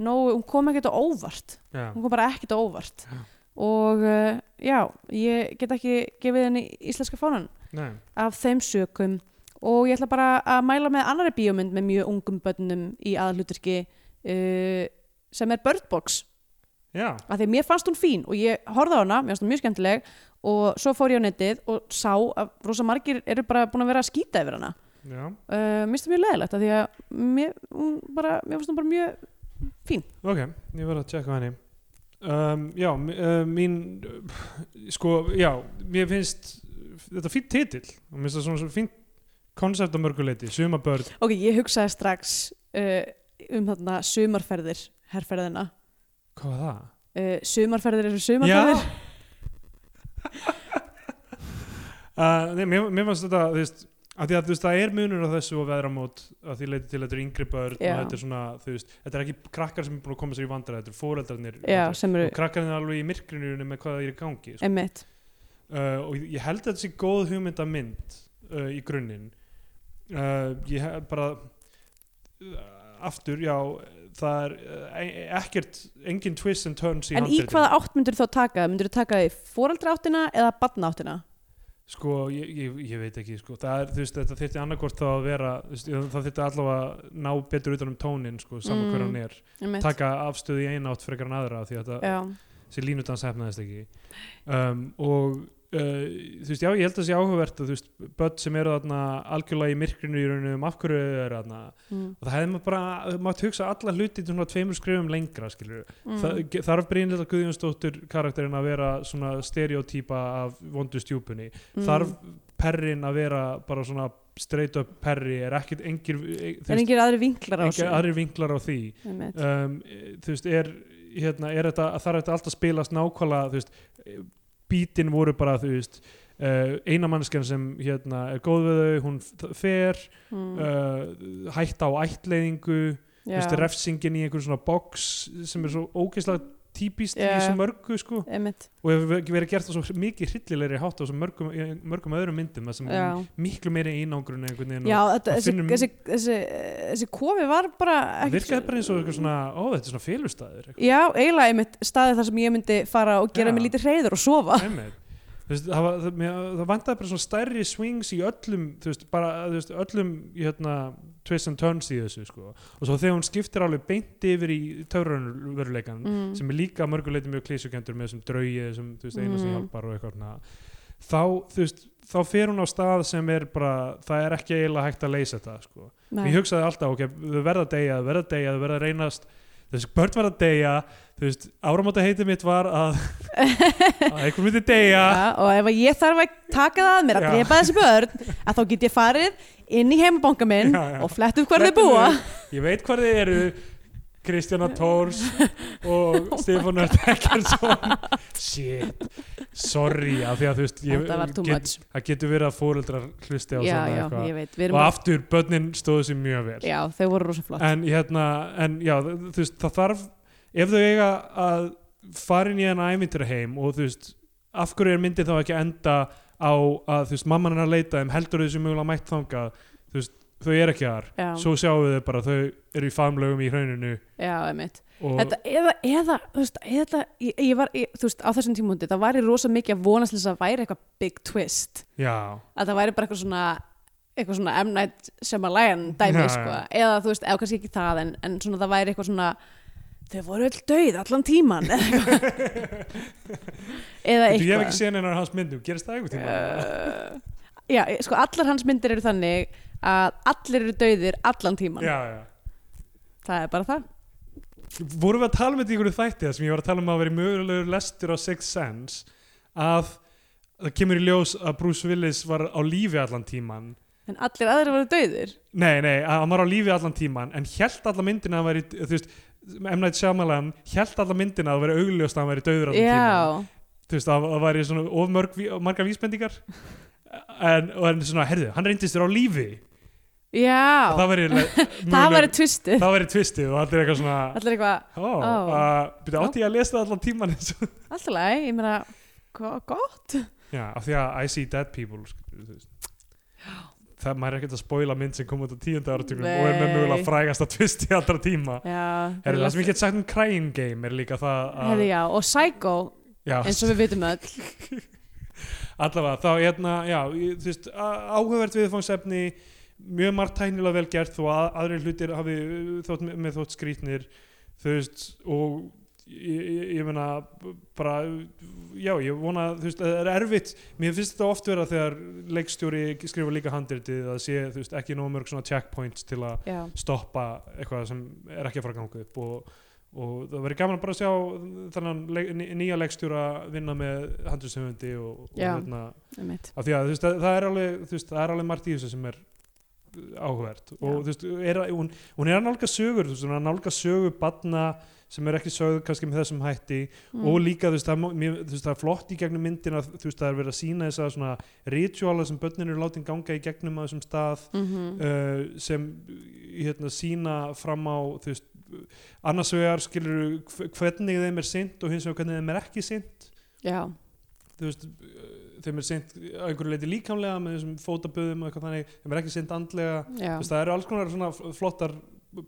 nógu, hún kom ekkert á óvart
Já,
hún kom bara ekkert á óvart
Já.
og uh, já, ég get ekki gefið henni íslenska fánan
nei,
af þeim sökum og ég ætla bara að mæla með annari bíómynd með mjög ungum bönnum í aðalhuturki uh, sem er Birdbox
já,
að því að mér fannst hún fín og ég horfði á hana, mér fannst hún mjög skemmtileg og svo fór ég á netið og sá að rosa margir eru bara búin að vera að skýta yfir hana
já,
uh, mér finnst það mjög leðilegt að því að mér, hún bara, mér fannst hún bara mjög
ok, ég verð að tjekka á henni um, Já, m- uh, mín uh, sko, já, mér finnst þetta fínt titill og mér finnst það svona, svona fínt konsept að mörguleiti, suma börn
ok, ég hugsaði strax uh, um þarna sumarferðir herrferðina
hvað var það?
uh, sumarferðir eru sumarferðir
Uh, nei, mér, mér fannst þetta þú veist, að því að þú veist, það er munur á þessu og veðramót að því leiti til að þetta eru yngri börn
Já.
og þetta er svona, þú veist, þetta er ekki krakkar sem er búin að koma sér í vandræði, þetta eru fóreldrarnir
já, sem eru
og krakkarnir er alveg í myrkrinu með hvað það er í gangi sko.
emitt
uh, og ég held að þetta sé góð hugmynd að mynd uh, í grunninn uh, ég hef bara uh, aftur, já það er uh, e- ekkert engin twist and turns í
en í
handritinu.
hvaða átt myndur þú þá taka það? myndur þú taka það í fóraldráttina eða badnáttina
Sko, ég, ég, ég veit ekki, sko, það er, þú veist, þetta þyrfti annarkvort þá að vera, þú veist, það þyrfti allavega ná betur utan um tónin, sko, saman
Mm.
mm. hver hann er,
emitt
taka afstöðu í eina átt frekar en aðra, af því að þetta,
já,
þessi línudans hefnaðist ekki. Um, og, uh, þú veist, já, ég held að það sé áhugavert að, þú veist, börn sem eru þarna algjörlega í myrkrinu í rauninu um af hverju þau eru þarna,
mm.
og það hefði maður bara, maður hugsa alla hluti til svona tveimur skrifum lengra, skilur
Mm.
Þa- þarf Brynhilda Guðjónsdóttur karakterinn að vera svona stereotýpa af vondu stjúpunni
Mm.
þarf perrin að vera bara svona straight up perri er ekkert engir, e, þú
er
veist,
engir aðri vinklar á
engir aðrir vinklar á því
einmitt.
um, e, þú veist, er, hérna, er þetta, þarf þetta allt að spilast nákvæmlega þú veist, e, bítin voru bara þú veist Uh, eina mannskjan sem hérna, er góð við þau hún f- fer
Mm.
uh, hætta á ættleiðingu þú veist,
Já.
refsingin í einhvern svona box sem er svo ógeðslega típist í
Já.
svo mörgu sko
Einmitt,
og hefur ekki verið gert á svo mikið hryllilegri hátt á svo mörgum, í mörgum öðrum myndum það sem er
já,
miklu meiri einangrun einhvern veginn
já
og
þetta,
og
þessi,
Hérna, finnum-
þessi, þessi, þessi kofi var bara
það
ekkert-
virkaði bara eins og eitthvað svona ó þetta er svona félustæður
já, eiginlega einmitt staðið þar sem ég myndi fara og gera
Já.
mig lítið hreyður og sofa
Veist, það, var, það, mér, það vantaði bara svona stærri swings í öllum þú veist, bara, þú veist, öllum hérna, twists and turns í þessu sko. og svo þegar hún skiptir alveg beint yfir í törrunveruleikan
mm.
sem er líka að mörguleiti mjög klísukendur með þessum draugi, þessum þú veist, eina sem
Mm.
hjálpar og eitthvað svona þá, þú veist, þá fer hún á stað sem er bara, það er ekki eiginlega hægt að leysa þetta, sko.
Nei.
Ég hugsaði alltaf, ok, þau verða að deyja, þau verða að deyja, þau verða að reynast þessi börn verða að deyja, þú veist, áramóta heitið mitt var að að einhver myndi deyja
Já, og ef að ég þarf að taka það að mér að
Já.
drepa þessi börn að þá get ég farið inn í heimabanga minn
Já, já.
og flett upp hvar þau
Þetta
búa
eru- Ég veit hvað þið eru Kristjana Tórs og oh Stefán Ört Ekkertsson Shit, sorry af því að þú veist ég,
Þetta var too much.
það getur verið að fóreldrar hlusti á
já,
svona
já,
eitthvað
ég veit við
og
erum að,
aftur, börnin stóðu sér mjög vel
já, þau voru rosa flott
en hérna, en já þú veist, það þarf, ef þau eiga að fara inn í hann æmyndir heim og þú veist, af hverju er myndin þá ekki að enda á að þú veist, mamman er að leita þeim, heldur þau sem mjögulega mætt þangað þú veist, þau eru ekki þar
já,
svo sjáum við þau bara þau eru í famlögum í hrauninu
já, einmitt
og
Þetta, eða, eða, þú veist, eða, ég, ég var, ég, þú veist, á þessum tímundi, það væri rosa mikið að vonast til þess að væri eitthvað big twist.
já,
Að það væri bara eitthvað svona, eitthvað svona M. Night Shyamalan dæmi,
Já,
sko.
já.
Eða, þú veist, eða kannski ekki það, en, en svona það væri eitthvað svona, þau voru öll döið allan tíman, eða eitthvað. eða
Veitu,
eitthvað.
ég hef ekki séð neinar hans myndum, gerist það einhvern tíma
Uh, já, sko, allar hans myndir eru þannig að allir eru döiðir allan tíman.
já, já
Það er bara það.
vorum við að tala með þetta í einhverju þætti þar sem ég var að tala um að vera mögulegur lestur á Sixth Sense að það kemur í ljós að Bruce Willis var á lífi allan tíman
En allir aðrir voru döiðir.
nei, nei, að hann var á lífi allan tíman en held alla myndina að hann væri þú veist, M. Night Shyamalan held alla myndina að það væri augljóst að hann væri döður allan tíman
Já,
þú veist, það það væri svona of mörg, ví- margar vísbendingar en, og en svona, herðu, hann reyndist þér á lífi
já.
það væri
Það væri
möguleg-
tvistið
það væri tvistið og allir eitthvað svona
Allir eitthvað,
ó, oh.
Ó.
byrja átti ég að lesa það allan tíman eins og
allt í lagi, ég meina hva- gott,
já, af því að I see dead people skilur, þú veist það maður er ekkert að spoila mynd sem kom út á tíunda áratugum og er með
Nei.
mögulega frægast að tvisti allra tíma
já
er það sem ég get sagt um Crying Game er líka það að
Herri, já, og Psycho,
já,
eins og við vitum öll
allavega þá hérna, já, ég- þú veist á- áhugavert viðfangsefni mjög margt tæknilega vel gert þó að aðrir hlutir hafi uh, þótt með, með þótt skrýtnir þú veist og ég, ég, ég meina b- bara já ég vona þú veist það er erfitt mér finnst þetta oft vera þegar leikstjóri skrifa líka handritið að sé þú veist ekki nóg mörg svona checkpoints til að
Já,
stoppa eitthvað sem er ekki að fara að ganga upp og, og það verður gaman bara að sjá þannan leik, ný- nýja leikstjóra vinna með handriðshöfundi og, og
Já.
hérna,
einmitt
af því að þú veist, það, það er alveg þú veist, það er alveg margt í þessu sem er áhvert og þú veist, er, að- hún, hún er að nálga sögur þú veist, hún er að nálga sögur badna sem er ekki sögð kannski með þessum hætti
Mm.
og líka þú veist, það, má- mér, þú veist, það er flott í gegnum myndina þú veist, það er verið að sína þess að svona rituala sem börnin eru látin ganga í gegnum á þessum stað
mm -hmm.
uh, sem hérna sína fram á þú veist, annars vegar skilur hvernig þeim er sint og hins vegar hvernig þeim er ekki sint
já,
þú veist, uh, þeim er sint að einhverju leiti líkamlega með þessum fótaböðum og eitthvað þannig, þeim er ekki sint andlega
já,
þú veist, það eru alls konar svona fl- flottar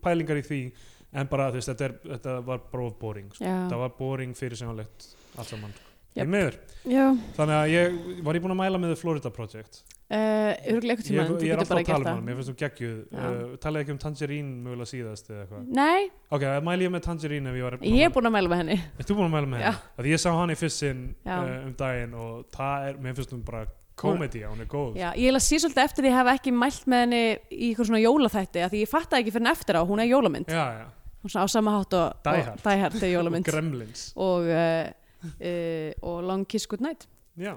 pælingar í því en bara þú veist, þetta, er, þetta var bara of boring sko.
já,
þetta var boring fyrir sjónlegt allt saman sko.
Jep.
Því miður.
já
þannig að ég var ég búinn að mæla með The Florida Project
uh, örgulega eitthvað
ég,
tíma
ég er alltaf að tala um hann, mér finnst þú geggjuð
Já.
uh, talaði ekki um Tangerine mögulega síðast eða eitthvað
Nei,
Ok, það mæli ég með Tangerine ef ég var
ég er búin að mæla með henni
Ert þú búin að mæla með
Já.
henni? Af Því ég sá hann í fyrst sinn
Já.
uh, um daginn og það er, mér finnst hún bara komedi, hún er góð
Já, ég er að sé svolítið eftir því að ég hef ekki mælt með henni í eitthvað svona jólaþætti af því ég fattaði ekki fyrir henni eftir á, hún er jólamynd
já, já.
hún er svona á sama hátt og
Die Hard.
og Die Hard er
og
jólamynd
Gremlins
og, uh, uh, og Long Kiss Goodnight
Já,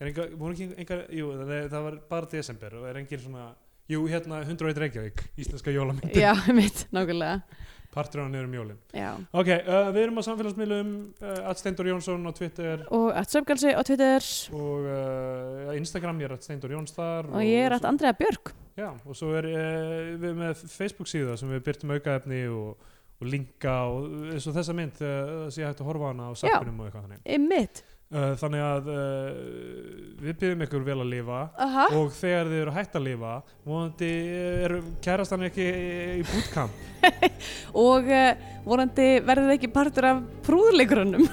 er enga, voru ekki engar, jú, það, það var bara desember og er engin svona, jú, hérna 101 Reykjavík, íslenska jólamyndin
Já, mitt, nákvæmlega
partur á hann um jólin
Já.
Ok, uh, við erum á samfélagsmiðlum uh, Atsteindur Jónsson á Twitter
Og að sömgalsi á Twitter
og uh, Instagram, ég er Atsteindur Jóns þar
og ég er að Andrea Björk
Já, og svo er uh, við með Facebook síða sem við byrtum aukaefni og, og linka og eins og þessa mynd þegar uh, sé hægt að horfa á hana á sappunum og eitthvað þannig.
Einmitt
Uh, þannig að uh, við byrjum ykkur vel að lifa
Aha,
og þegar þið eru hægt að lifa vonandi eh, er kærastan ekki í bootcamp
eh, og uh, vonandi verðið ekki partur af prúðleikurunum